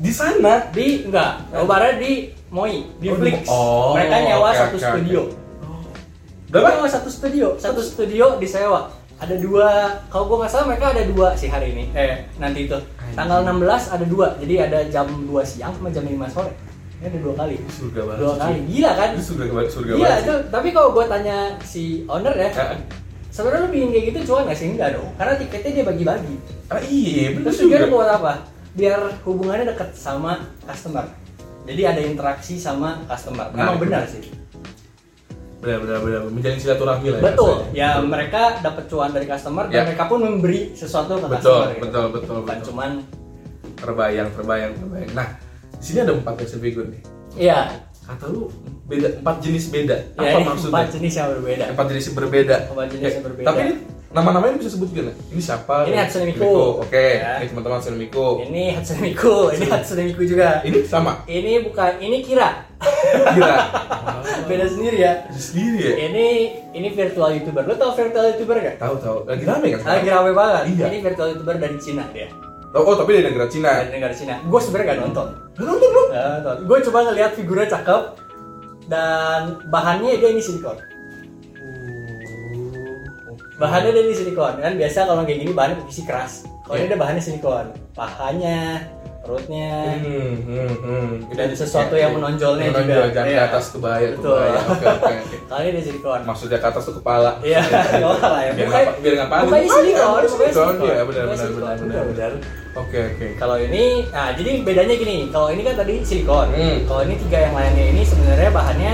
Speaker 1: di sana
Speaker 2: di enggak nobarnya di Moi di
Speaker 1: Oh, di-
Speaker 2: Flix
Speaker 1: oh,
Speaker 2: mereka nyewa
Speaker 1: oke,
Speaker 2: satu
Speaker 1: oke,
Speaker 2: studio mereka
Speaker 1: berapa
Speaker 2: nyewa satu studio satu studio disewa ada dua kalau gua nggak salah mereka ada dua sih hari ini eh nanti itu tanggal 16 ada dua jadi ada jam 2 siang sama jam 5 sore ini ada dua kali
Speaker 1: surga banget
Speaker 2: dua
Speaker 1: sih.
Speaker 2: kali gila kan
Speaker 1: itu surga banget surga
Speaker 2: gila
Speaker 1: banget
Speaker 2: itu tapi kalau gua tanya si owner ya
Speaker 1: Ah,
Speaker 2: sebenarnya lu bikin kayak gitu cuan nggak sih enggak dong karena tiketnya dia bagi-bagi
Speaker 1: ah, iya bener
Speaker 2: Terus
Speaker 1: juga
Speaker 2: tujuannya buat apa? Biar hubungannya dekat sama customer. Jadi ada interaksi sama customer. Memang
Speaker 1: Menarik.
Speaker 2: benar sih.
Speaker 1: benar benar benar menjalin silaturahmi lah ya,
Speaker 2: Betul.
Speaker 1: rasanya.
Speaker 2: Ya mereka dapat cuan dari customer
Speaker 1: Ya.
Speaker 2: dan mereka pun memberi sesuatu ke
Speaker 1: betul
Speaker 2: customer. gitu.
Speaker 1: betul betul
Speaker 2: Bukan
Speaker 1: betul
Speaker 2: cuman
Speaker 1: terbayang terbayang terbayang nah di sini ada empat action figure nih
Speaker 2: Iya.
Speaker 1: kata lu beda empat jenis beda
Speaker 2: Ya,
Speaker 1: apa
Speaker 2: ini
Speaker 1: maksudnya
Speaker 2: empat jenis yang berbeda.
Speaker 1: empat jenis yang berbeda
Speaker 2: Empat jenis yang
Speaker 1: Oke,
Speaker 2: berbeda.
Speaker 1: tapi ini nama-namanya bisa sebut gak? ini siapa
Speaker 2: Ini Hatsune Miku.
Speaker 1: oke
Speaker 2: Ya.
Speaker 1: ini teman-teman Hatsune Miku
Speaker 2: Ini Hatsune Miku, ini Hatsune Miku juga.
Speaker 1: ini sama
Speaker 2: Ini bukan, ini Kira.
Speaker 1: gila Oh.
Speaker 2: Beda sendiri ya.
Speaker 1: sendiri ya
Speaker 2: Ini ini virtual youtuber. Lo tau virtual youtuber gak?
Speaker 1: tahu tahu lagi rame kan sekarang?
Speaker 2: Lagi rame banget.
Speaker 1: Iya.
Speaker 2: Ini virtual youtuber dari Cina dia.
Speaker 1: oh, oh, tapi dari negara Cina
Speaker 2: Dari negara Cina. Gue sebenarnya gak nonton.
Speaker 1: lu nonton lu
Speaker 2: gue coba ngeliat figurnya cakep dan bahannya dia ini silikon bahannya dia ini silikon kan biasa kalau kayak gini bahannya pasti keras kalau ini
Speaker 1: Iya.
Speaker 2: dia bahannya silikon pahanya perutnya
Speaker 1: Hmm, hmm, hmm.
Speaker 2: Dan sesuatu yang menonjolnya
Speaker 1: menonjol,
Speaker 2: juga.
Speaker 1: jangan
Speaker 2: Iya.
Speaker 1: ke atas kebaya,
Speaker 2: Betul.
Speaker 1: kebaya. Oke, oke, oke.
Speaker 2: kalau ini dia silikon
Speaker 1: Maksudnya ke atas tuh kepala.
Speaker 2: Iya, nggak apa-apa lah ya.
Speaker 1: Biar
Speaker 2: Mukanya-
Speaker 1: nggak biar nggak panik.
Speaker 2: Mukanya silikon,
Speaker 1: Iya,
Speaker 2: mukanya
Speaker 1: silikon.
Speaker 2: silikon.
Speaker 1: Iya, benar,
Speaker 2: Mukanya
Speaker 1: benar, benar,
Speaker 2: silikon,
Speaker 1: benar,
Speaker 2: benar.
Speaker 1: Oke, oke.
Speaker 2: kalau ini nah jadi bedanya gini kalau ini kan tadi silikon
Speaker 1: Hmm.
Speaker 2: kalau ini tiga yang lainnya ini sebenarnya bahannya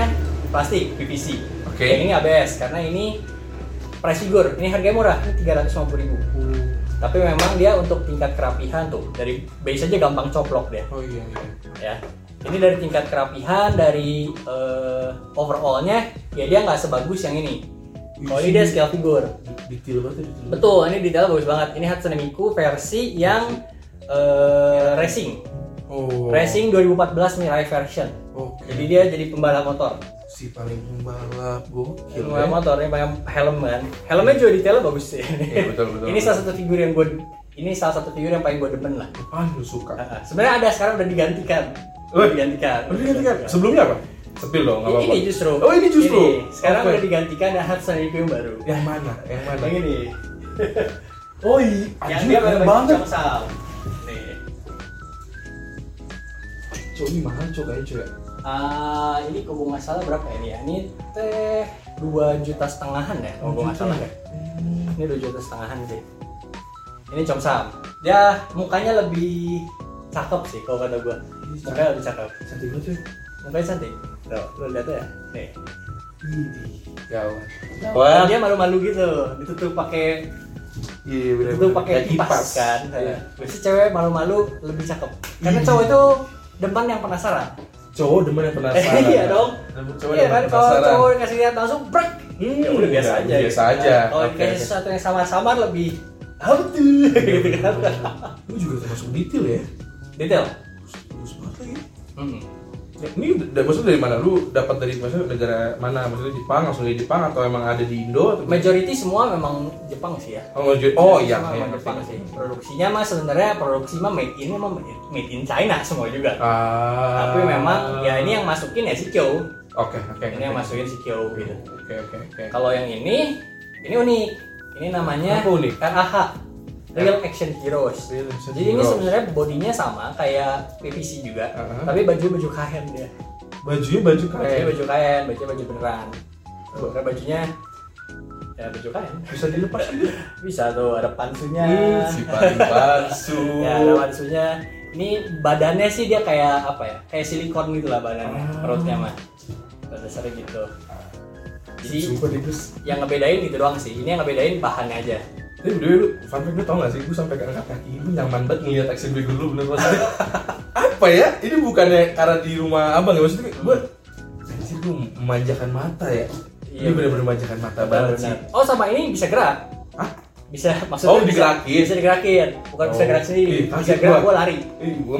Speaker 2: plastik PVC
Speaker 1: Oke.
Speaker 2: Yang ini ABS karena ini price figure ini harganya murah ini 350 ribu tapi memang dia untuk tingkat kerapihan tuh dari base aja gampang coplok deh
Speaker 1: Oh iya, iya.
Speaker 2: ya ini dari tingkat kerapihan dari eh, overallnya ya dia nggak sebagus yang ini kalau ini dia scale figure
Speaker 1: Detail banget, ya, detail. banget.
Speaker 2: betul ini detail bagus banget ini Hatsune Miku versi yang eh, racing
Speaker 1: Oh.
Speaker 2: Racing 2014 Mirai version.
Speaker 1: Oke.
Speaker 2: Jadi dia jadi pembalap motor.
Speaker 1: si paling pembalap gokil. ya.
Speaker 2: Pembalap motor yang pakai helm kan. Helmnya juga detailnya bagus sih.
Speaker 1: Iya, betul, betul,
Speaker 2: ini
Speaker 1: betul.
Speaker 2: salah satu figur yang gue ini salah satu figur yang paling gue demen lah.
Speaker 1: Apaan lu suka?
Speaker 2: Ah, ah. Sebenarnya ada sekarang udah digantikan. Udah
Speaker 1: Eh,
Speaker 2: digantikan.
Speaker 1: Oh, ini ganti kan? Sebelumnya apa? Sepil dong, nggak
Speaker 2: Ini-
Speaker 1: apa-apa.
Speaker 2: ini justru.
Speaker 1: Oh, ini justru.
Speaker 2: Sekarang
Speaker 1: Oke.
Speaker 2: udah digantikan dengan Hatsune Miku yang baru.
Speaker 1: yang mana? Yang mana?
Speaker 2: Yang ini.
Speaker 1: Oh iya,
Speaker 2: Yang
Speaker 1: anjir
Speaker 2: dia
Speaker 1: keren
Speaker 2: pakai baju
Speaker 1: banget.
Speaker 2: samsal. Nih.
Speaker 1: Cok, ini mahal cok kayaknya cok ya.
Speaker 2: Ah, ini kalau gue nggak salah berapa ya ini ya? Ini teh 2 juta setengahan ya kalau gue nggak salah ya.
Speaker 1: Hmm,
Speaker 2: Ini 2 juta setengahan sih. Ini comsam. Dia mukanya lebih cakep sih kalau kata gue. Mukanya lebih cakep.
Speaker 1: Cantik banget cok.
Speaker 2: Mukanya cantik. Tuh, lu lihat tuh ya. Nih.
Speaker 1: Idih, Gawat.
Speaker 2: Wah. Dia malu-malu gitu. Ditutup pakai
Speaker 1: Iya benar.
Speaker 2: ditutup pakai kipas, kan.
Speaker 1: Iya.
Speaker 2: Biasanya cewek malu-malu lebih cakep. Karena
Speaker 1: Ih.
Speaker 2: cowok itu depan yang penasaran.
Speaker 1: Cowok demen yang penasaran.
Speaker 2: Eh, iya dong.
Speaker 1: Demen Cowok
Speaker 2: Iya
Speaker 1: demen
Speaker 2: kan
Speaker 1: yang
Speaker 2: kalau
Speaker 1: penasaran.
Speaker 2: cowok dikasih lihat langsung brek hmm, ya udah biasa
Speaker 1: udah,
Speaker 2: aja
Speaker 1: biasa
Speaker 2: gitu.
Speaker 1: aja.
Speaker 2: kalau
Speaker 1: Oke.
Speaker 2: kayak sesuatu yang sama-sama lebih apa tuh gitu kan
Speaker 1: Iya, Lu juga termasuk detail ya.
Speaker 2: detail
Speaker 1: Bagus banget lagi.
Speaker 2: hmm.
Speaker 1: Ya, ini da- maksudnya dari mana? Lu dapat dari maksudnya negara mana? Maksudnya Jepang, langsung dari Jepang atau emang ada di Indo? Atau
Speaker 2: majority semua memang Jepang sih ya
Speaker 1: Oh, maju- oh iya,
Speaker 2: Semua
Speaker 1: iya.
Speaker 2: memang Jepang sih produksinya mah sebenarnya produksi mah made in mah made in China semua juga
Speaker 1: Ah.
Speaker 2: tapi memang ya ini yang masukin ya si Kyo
Speaker 1: Oke, oke.
Speaker 2: ini yang masukin si Kyo gitu
Speaker 1: Oke, oke, oke.
Speaker 2: kalau yang ini ini unik ini namanya
Speaker 1: Apa unik?
Speaker 2: RAH Eh, Real Action Heroes
Speaker 1: Iya. Real Action
Speaker 2: jadi ini
Speaker 1: Heroes.
Speaker 2: sebenarnya bodinya sama kayak PVC juga
Speaker 1: Uh-huh.
Speaker 2: tapi baju baju kain dia
Speaker 1: Bajunya baju
Speaker 2: bajunya
Speaker 1: kain.
Speaker 2: Iya, baju kain bajunya baju beneran Karena bajunya ya baju kain
Speaker 1: Bisa dilepas gitu.
Speaker 2: bisa tuh ada pansunya
Speaker 1: Hmm, si paling palsu.
Speaker 2: ya ada pansunya ini badannya sih dia kayak apa ya kayak silikon gitu lah badannya
Speaker 1: Ah.
Speaker 2: perutnya mah pada dasarnya gitu jadi
Speaker 1: Sumpah deh, Gus.
Speaker 2: yang ngebedain gitu doang sih ini yang ngebedain bahannya aja
Speaker 1: Tapi berdua lu, fun fact lu tau gak sih, gue sampai ke angkat kaki lu nyaman banget ngeliat action figure lu bener maksudnya Apa ya, ini bukannya karena di rumah abang ya, maksudnya gue Anjir gue memanjakan mata ya
Speaker 2: Iya.
Speaker 1: Ini bener-bener memanjakan mata banget sih
Speaker 2: oh sama ini bisa gerak
Speaker 1: Hah?
Speaker 2: bisa maksudnya
Speaker 1: Oh, digerakin.
Speaker 2: bisa, bisa digerakin bukan bisa
Speaker 1: Oh.
Speaker 2: gerak sendiri
Speaker 1: Ih,
Speaker 2: bisa
Speaker 1: kasih
Speaker 2: gerak
Speaker 1: gua.
Speaker 2: gua lari
Speaker 1: Ih, gue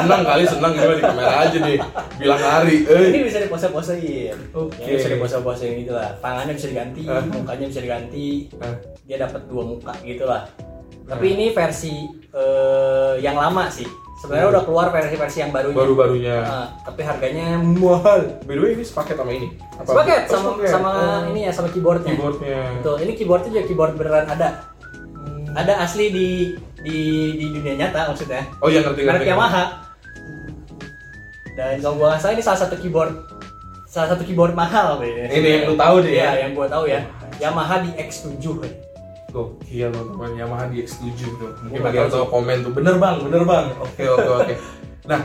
Speaker 1: senang kali, senang gimana di kamera aja nih Bilang hari, eh
Speaker 2: ini bisa dipose-posein
Speaker 1: Oke.
Speaker 2: Ya, bisa dipose-posein gitu lah tangannya bisa diganti
Speaker 1: Ah.
Speaker 2: mukanya bisa diganti
Speaker 1: Ah.
Speaker 2: dia dapat dua muka gitu lah
Speaker 1: Ah.
Speaker 2: tapi ini versi eh, yang lama sih sebenarnya
Speaker 1: Hmm.
Speaker 2: udah keluar versi-versi yang barunya
Speaker 1: Baru-barunya
Speaker 2: Ah, tapi harganya mahal
Speaker 1: By the way ini sepaket sama ini? Apa-
Speaker 2: sepaket
Speaker 1: Oh,
Speaker 2: sama
Speaker 1: sepaket.
Speaker 2: sama
Speaker 1: Oh,
Speaker 2: ini ya sama keyboardnya
Speaker 1: Keyboardnya
Speaker 2: Betul, ini keyboardnya juga keyboard beneran ada.
Speaker 1: Hmm.
Speaker 2: Ada asli di di di dunia nyata maksudnya.
Speaker 1: Oh iya ngerti
Speaker 2: Merek
Speaker 1: ngerti
Speaker 2: Yamaha. Dan kalau gua nggak salah ini salah satu keyboard salah satu keyboard mahal deh.
Speaker 1: Ini yang lu tahu deh
Speaker 2: Iya,
Speaker 1: ya?
Speaker 2: yang gua tahu ya. Yamaha di X7. deh.
Speaker 1: Gokil teman Yamaha dia setuju bro. Mungkin
Speaker 2: Gua
Speaker 1: bagi
Speaker 2: nggak
Speaker 1: yang tahu komen tuh bener bang, bener bang. Oke oke oke. Nah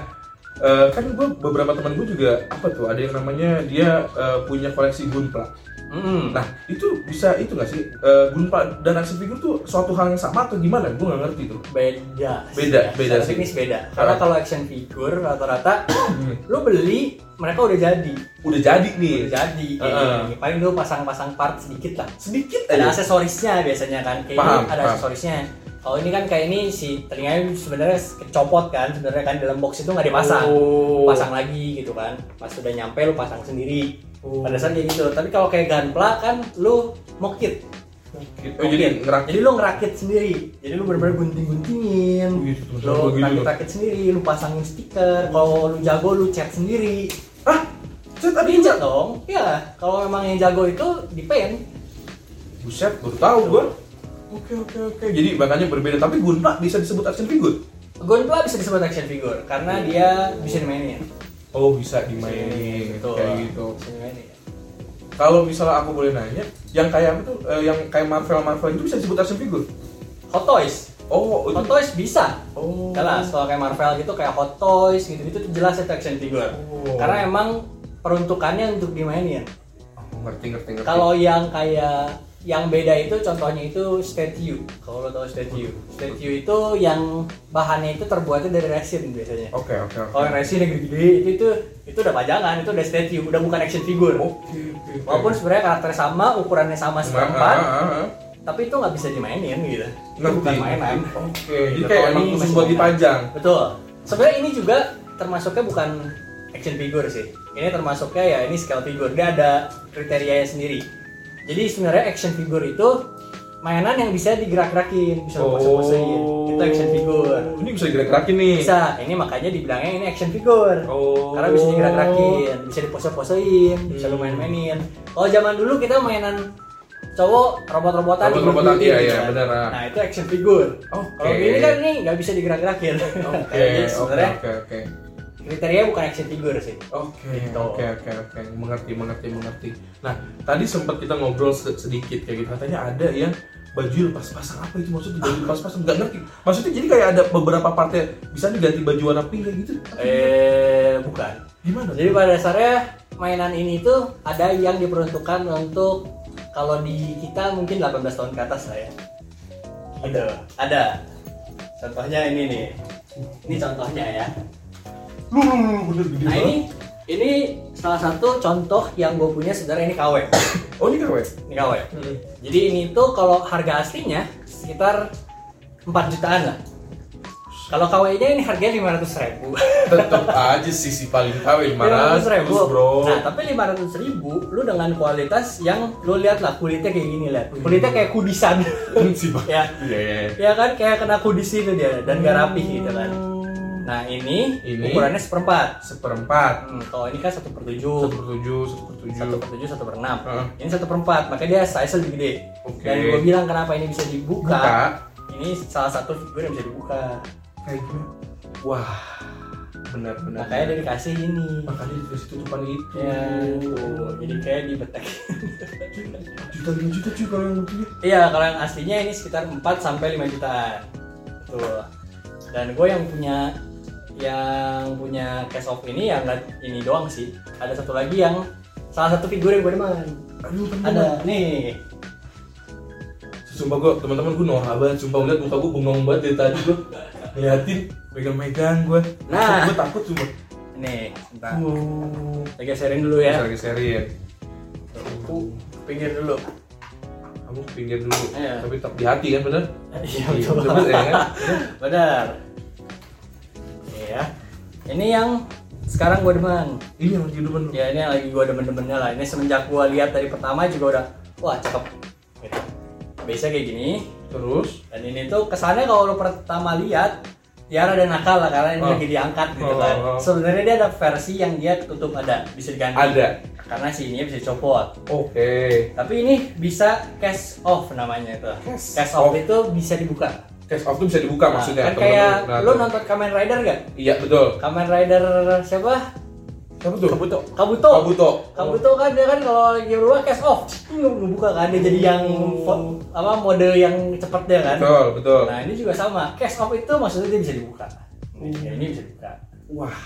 Speaker 1: eh, kan gue beberapa teman gue juga apa tuh ada yang namanya dia eh, punya koleksi gunpla.
Speaker 2: Mm-mm.
Speaker 1: Nah itu bisa itu nggak sih Eh, gunpla dan action figure tuh suatu hal yang sama atau gimana? Gue nggak ngerti tuh.
Speaker 2: beda.
Speaker 1: Beda, beda
Speaker 2: secara
Speaker 1: sih.
Speaker 2: teknis beda. Karena
Speaker 1: Ah.
Speaker 2: kalau action figure rata-rata
Speaker 1: Mm.
Speaker 2: lu beli mereka udah jadi.
Speaker 1: Udah jadi nih.
Speaker 2: Udah jadi.
Speaker 1: Iya. Heeh.
Speaker 2: Paling lu pasang-pasang part sedikit lah.
Speaker 1: Sedikit
Speaker 2: ada
Speaker 1: aja.
Speaker 2: aksesorisnya biasanya kan kayak
Speaker 1: Iya. Paham,
Speaker 2: ini ada
Speaker 1: paham.
Speaker 2: aksesorisnya kalau ini kan kayak ini si telinganya sebenarnya kecopot kan sebenarnya kan dalam box itu nggak dipasang
Speaker 1: Oh.
Speaker 2: pasang lagi gitu kan pas udah nyampe lu pasang sendiri
Speaker 1: Oh.
Speaker 2: pada saat kayak gitu tapi kalau kayak gunpla kan lu mokit
Speaker 1: Gitu. Oh, jadi ngerakit.
Speaker 2: jadi lu ngerakit sendiri jadi lu bener-bener gunting-guntingin
Speaker 1: Oh, gitu, terus
Speaker 2: lu
Speaker 1: apa gitu?
Speaker 2: rakit-rakit sendiri lu pasangin stiker kalau lu jago lu cat sendiri
Speaker 1: Ah, cet ada
Speaker 2: tapi
Speaker 1: juga.
Speaker 2: cat dong ya kalau memang yang jago itu di paint
Speaker 1: Buset, baru tahu gue. Oke oke oke. Jadi makanya berbeda. Tapi gunpla bisa disebut action figure.
Speaker 2: Gonpla bisa disebut action figure
Speaker 1: Iya.
Speaker 2: karena dia bisa dimainin.
Speaker 1: Oh bisa dimainin
Speaker 2: Betul.
Speaker 1: kayak gitu.
Speaker 2: Bisa dimainin.
Speaker 1: Kalau misalnya aku boleh nanya, yang kayak apa tuh? eh, yang kayak Marvel Marvel itu bisa disebut action figure?
Speaker 2: Hot Toys.
Speaker 1: Oh, itu.
Speaker 2: Hot Toys bisa.
Speaker 1: Oh.
Speaker 2: Jelas kalau kayak Marvel gitu kayak Hot Toys gitu itu jelas itu action figure.
Speaker 1: Oh.
Speaker 2: Karena emang peruntukannya untuk dimainin.
Speaker 1: Oh, ngerti ngerti ngerti.
Speaker 2: Kalau yang kayak yang beda itu contohnya itu statue. Kalau lo tahu statue. Statue itu yang bahannya itu terbuatnya dari resin biasanya.
Speaker 1: Oke oke oke.
Speaker 2: Kalau yang resin yang gede-gede itu, itu itu udah pajangan, itu udah statue, udah bukan action figure.
Speaker 1: Oke oke. oke.
Speaker 2: Walaupun sebenarnya karakter sama, ukurannya
Speaker 1: Ah,
Speaker 2: sama
Speaker 1: ah,
Speaker 2: seperempat,
Speaker 1: ah, ah.
Speaker 2: tapi itu nggak bisa dimainin gitu. Itu
Speaker 1: Ngerti.
Speaker 2: bukan mainan.
Speaker 1: Oke. Jadi
Speaker 2: Gitu,
Speaker 1: kayak
Speaker 2: kalau
Speaker 1: emang
Speaker 2: ini
Speaker 1: khusus
Speaker 2: masih
Speaker 1: buat
Speaker 2: mainan.
Speaker 1: dipajang.
Speaker 2: Betul. Sebenarnya ini juga termasuknya bukan action figure sih. Ini termasuknya ya ini scale figure. Dia ada kriterianya sendiri. Jadi sebenarnya action figure itu mainan yang bisa digerak-gerakin, bisa oh. pose-posein. Itu action figure.
Speaker 1: Oh, Ini bisa gerak-gerakin nih.
Speaker 2: Bisa. Ini makanya dibilangnya ini action figure.
Speaker 1: Iya. Oh.
Speaker 2: Karena bisa digerak-gerakin, bisa dipose-posein, bisa
Speaker 1: Hmm.
Speaker 2: lu main-mainin. Kalau zaman dulu kita mainan cowok robot-robotan
Speaker 1: Robot-robotan, iya,
Speaker 2: digigit-gigit gitu
Speaker 1: iya,
Speaker 2: kan.
Speaker 1: benar, ah.
Speaker 2: Nah, itu action figure.
Speaker 1: Oke.
Speaker 2: Kalau ini kan ini nggak bisa digerak-gerakin.
Speaker 1: Oke
Speaker 2: Jadi
Speaker 1: oke
Speaker 2: gitu sebenarnya
Speaker 1: oke oke.
Speaker 2: kriterianya bukan action figure sih.
Speaker 1: Oke,
Speaker 2: Gitu.
Speaker 1: oke, oke, oke. Mengerti, mengerti, mengerti. Nah, tadi sempat kita ngobrol se- sedikit kayak gitu. Katanya ada yang baju lepas pasang apa itu maksudnya baju lepas pasang nggak ngerti maksudnya jadi kayak ada beberapa partnya bisa diganti baju warna pink kayak gitu
Speaker 2: Eh, bukan.
Speaker 1: gimana
Speaker 2: Jadi pada dasarnya mainan ini tuh ada yang diperuntukkan untuk kalau di kita mungkin 18 tahun ke atas lah ya. Ada. Ada. Contohnya ini nih. Ini contohnya ya.
Speaker 1: lu lu lu bener gede
Speaker 2: Nah ini ini salah satu contoh yang gue punya sebenarnya ini KW.
Speaker 1: Oh ini Hmm. KW?
Speaker 2: Ini KW. Jadi ini tuh kalau harga aslinya sekitar 4 jutaan lah. Kalau KW-nya ini harganya 500 ribu.
Speaker 1: Tetep aja sih si paling KW 500 bro
Speaker 2: Iya,
Speaker 1: Iya.
Speaker 2: Nah, tapi 500 ribu, lu dengan kualitas yang lu lihat lah kulitnya kayak gini lah. Kulitnya kayak kudisan.
Speaker 1: Hmm. Si Bang.
Speaker 2: ya,
Speaker 1: Iya iya iya.
Speaker 2: ya kan kayak kena kudis itu dia dan gak rapi gitu kan. Nah ini,
Speaker 1: Ini.
Speaker 2: ukurannya seperempat.
Speaker 1: Seperempat
Speaker 2: Hmm, kalau ini kan satu per
Speaker 1: Satu
Speaker 2: tujuh,
Speaker 1: per tujuh, satu per
Speaker 2: satu
Speaker 1: tujuh
Speaker 2: per tujuh, satu per enam.
Speaker 1: Heeh.
Speaker 2: Ini satu per empat, makanya dia size lebih gede.
Speaker 1: Oke.
Speaker 2: Dan gue bilang kenapa ini bisa dibuka?
Speaker 1: Buka.
Speaker 2: Ini salah satu figur yang bisa dibuka.
Speaker 1: Kayak gimana? Wah Benar-benar
Speaker 2: Makanya dia dikasih ini.
Speaker 1: Makanya dikasih tutupan itu
Speaker 2: Ya, tuh. Jadi kayak dibetek.
Speaker 1: Juta lima juta cuy kalau yang begini
Speaker 2: Iya, kalau yang aslinya ini sekitar 4 sampai 5 jutaan. Tuh. Dan gue yang punya yang punya case of ini yang ini doang sih. Ada satu lagi yang salah satu figur yang gue demen.
Speaker 1: Aduh teman-teman
Speaker 2: Ada nih.
Speaker 1: Sumpah gue, teman-teman gue norak banget Sumpah ngeliat muka gue bengong banget dari tadi gue Ngeliatin, megang-megang gue
Speaker 2: Nah.
Speaker 1: Gue takut cuma
Speaker 2: Nih, bentar.
Speaker 1: Wow
Speaker 2: Kita geserin dulu ya.
Speaker 1: Lagi serius
Speaker 2: Aku pinggir dulu.
Speaker 1: Kamu pinggir dulu
Speaker 2: Iya.
Speaker 1: Tapi tetap di hati kan bener?
Speaker 2: Iya,
Speaker 1: Iya,
Speaker 2: betul.
Speaker 1: betul, ya kan?
Speaker 2: Benar. Iya. Ini yang sekarang gue demen.
Speaker 1: Ini yang lagi depan
Speaker 2: Ya ini yang lagi gue demen-demennya lah. Ini semenjak gue lihat dari pertama juga udah, wah cakep. Gitu. Biasanya kayak gini.
Speaker 1: Terus
Speaker 2: Dan ini tuh kesannya kalau lo pertama lihat, Tiara dan nakal lah karena ini
Speaker 1: Oh.
Speaker 2: lagi diangkat gitu
Speaker 1: Oh,
Speaker 2: kan.
Speaker 1: oh, oh.
Speaker 2: Sebenarnya dia ada versi yang dia tutup ada, bisa diganti.
Speaker 1: Ada
Speaker 2: Karena si ini bisa dicopot.
Speaker 1: Oke
Speaker 2: Tapi ini bisa cash off namanya itu.
Speaker 1: Cash
Speaker 2: Cash off
Speaker 1: off.
Speaker 2: itu bisa dibuka.
Speaker 1: Cash off tuh bisa dibuka
Speaker 2: Nah,
Speaker 1: maksudnya
Speaker 2: kan
Speaker 1: teman-teman.
Speaker 2: kayak
Speaker 1: Nah,
Speaker 2: lo
Speaker 1: tuh.
Speaker 2: nonton Kamen Rider gak?
Speaker 1: Iya betul
Speaker 2: Kamen Rider siapa?
Speaker 1: Apa tuh?
Speaker 2: Kabuto. Kabuto.
Speaker 1: Kabuto
Speaker 2: Kamu tuh kan dia kan kalau lagi berubah cash off, ngebuka kan dia jadi yang fo- apa mode yang cepat dia kan.
Speaker 1: Betul, betul
Speaker 2: Nah ini juga sama, cash off itu maksudnya dia bisa dibuka. Ini,
Speaker 1: Hmm.
Speaker 2: ini bisa dibuka.
Speaker 1: Wah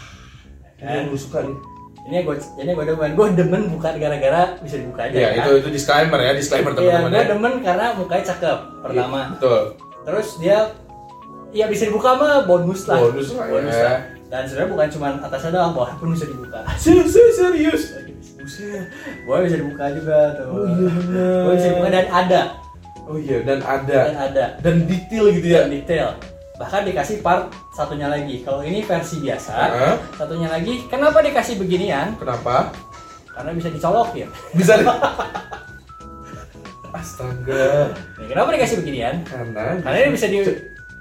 Speaker 1: Ini
Speaker 2: Kan?
Speaker 1: yang gue suka nih
Speaker 2: Ini gue, ini gue demen, gue demen bukan gara-gara bisa dibuka aja.
Speaker 1: Iya
Speaker 2: kan?
Speaker 1: itu, itu disclaimer ya, disclaimer
Speaker 2: Iya,
Speaker 1: teman-teman
Speaker 2: gue
Speaker 1: ya
Speaker 2: demen karena mukanya cakep pertama.
Speaker 1: Iya, Betul
Speaker 2: Terus dia, ya bisa dibuka mah bonus lah.
Speaker 1: Bonus lah, ya.
Speaker 2: lah. Dan sebenarnya bukan cuma atasnya doang, bawahnya pun bisa dibuka.
Speaker 1: Serius, serius, serius. Buset.
Speaker 2: Bawahnya bisa dibuka juga tuh.
Speaker 1: Oh, iya, bener.
Speaker 2: Bawahnya bisa dibuka dan ada.
Speaker 1: Oh iya, dan
Speaker 2: dan
Speaker 1: ada
Speaker 2: ada
Speaker 1: dan detail gitu ya.
Speaker 2: dan detail bahkan dikasih part satunya lagi kalau ini versi biasa
Speaker 1: Heeh.
Speaker 2: satunya lagi kenapa dikasih beginian
Speaker 1: Kenapa?
Speaker 2: karena bisa dicolokin
Speaker 1: Bisa di- Astaga.
Speaker 2: Nih, Ya, kenapa dikasih beginian
Speaker 1: Karena
Speaker 2: karena ini bisa di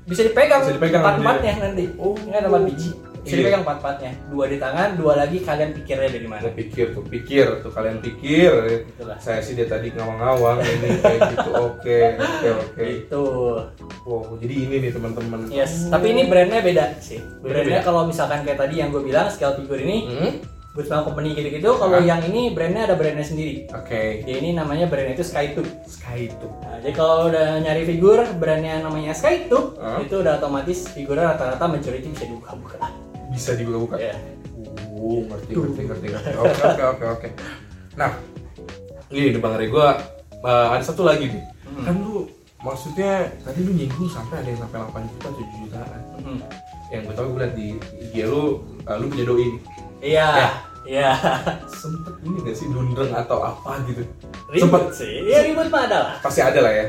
Speaker 2: bisa dipegang,
Speaker 1: Bisa dipegang
Speaker 2: empat
Speaker 1: sama
Speaker 2: empatnya
Speaker 1: dia.
Speaker 2: nanti
Speaker 1: Oh.
Speaker 2: ini ada empat biji bisa
Speaker 1: Iya.
Speaker 2: dipegang empat empatnya dua di tangan dua lagi kalian pikirnya dari mana
Speaker 1: Ada pikir tuh, pikir tuh kalian pikir.
Speaker 2: Itulah.
Speaker 1: Saya sih dia tadi ngawang-ngawang ini kayak gitu. Oke, oke, oke.
Speaker 2: itu
Speaker 1: Wow, jadi ini nih teman-teman.
Speaker 2: Gitu. yes tapi ini brandnya beda sih
Speaker 1: beda.
Speaker 2: brandnya kalau misalkan kayak tadi yang gue bilang scale figure ini
Speaker 1: Hmm?
Speaker 2: Good Smile Company gitu-gitu
Speaker 1: Ah.
Speaker 2: kalau yang ini brandnya ada brandnya sendiri
Speaker 1: Oke.
Speaker 2: dia ini namanya brandnya itu Skytube
Speaker 1: Sky itu.
Speaker 2: Nah, jadi kalau udah nyari figur brandnya namanya Skytube
Speaker 1: Hah?
Speaker 2: itu udah otomatis figurnya rata-rata majority bisa dibuka-buka.
Speaker 1: Bisa dibuka-buka.
Speaker 2: Ya.
Speaker 1: Oh, ngerti, ngerti, ngerti, ngerti. Oke, oke, oke, oke. Nah, ini nih Bang Rey, gua eh, ada satu lagi nih.
Speaker 2: Hmm.
Speaker 1: Kan lu maksudnya tadi lu nyinggung sampai ada yang sampai 8 juta, 7 jutaan. Ya,
Speaker 2: Mhm.
Speaker 1: Yang gue tau gue liat di IG lu, eh, lu punya doi.
Speaker 2: Iya.
Speaker 1: Ya.
Speaker 2: Iya.
Speaker 1: Sempet ini gak sih dundreng atau apa gitu? Sempet
Speaker 2: Ribut sih. Iya ribut mah ada lah.
Speaker 1: pasti ada lah ya.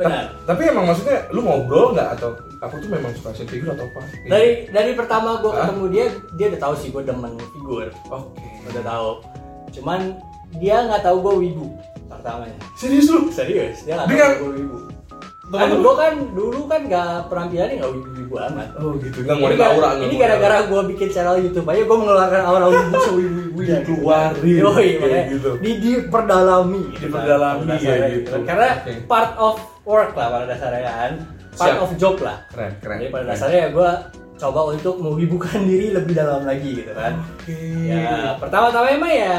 Speaker 2: Benar.
Speaker 1: Ta- tapi emang maksudnya lu ngobrol nggak atau aku tuh memang suka action figure atau apa? Gitu.
Speaker 2: Dari dari pertama gue
Speaker 1: Hah?
Speaker 2: ketemu dia, dia udah tahu sih gue demen figur.
Speaker 1: Oke.
Speaker 2: Udah tahu. Cuman dia nggak tahu gue wibu pertamanya.
Speaker 1: Serius lu?
Speaker 2: Serius, dia nggak
Speaker 1: Dia
Speaker 2: tahu
Speaker 1: nggak-
Speaker 2: gue wibu. Kan
Speaker 1: Temen lu?
Speaker 2: gue kan dulu kan nggak penampilannya nggak wibu-wibu amat.
Speaker 1: Oh gitu. Nggak
Speaker 2: Ini
Speaker 1: ngeluarin
Speaker 2: gara-
Speaker 1: aura. nggak
Speaker 2: Ini
Speaker 1: ngeluarin
Speaker 2: gara-gara gue bikin channel YouTube aja gue mengeluarkan aura wibu sewibu-wibu
Speaker 1: aura. dikeluarin.
Speaker 2: Yoi,
Speaker 1: kayak
Speaker 2: makanya
Speaker 1: gitu.
Speaker 2: di diperdalami. gitu kan,
Speaker 1: Diperdalami,
Speaker 2: pada dasarnya
Speaker 1: ya, gitu.
Speaker 2: kan. Karena
Speaker 1: Oke.
Speaker 2: part of work lah pada dasarnya kan, part
Speaker 1: Siap.
Speaker 2: of job lah.
Speaker 1: Keren, keren.
Speaker 2: Jadi pada
Speaker 1: keren.
Speaker 2: dasarnya ya gue coba untuk mewibukan diri lebih dalam lagi gitu kan.
Speaker 1: Oke.
Speaker 2: Ya pertama-tama emang ya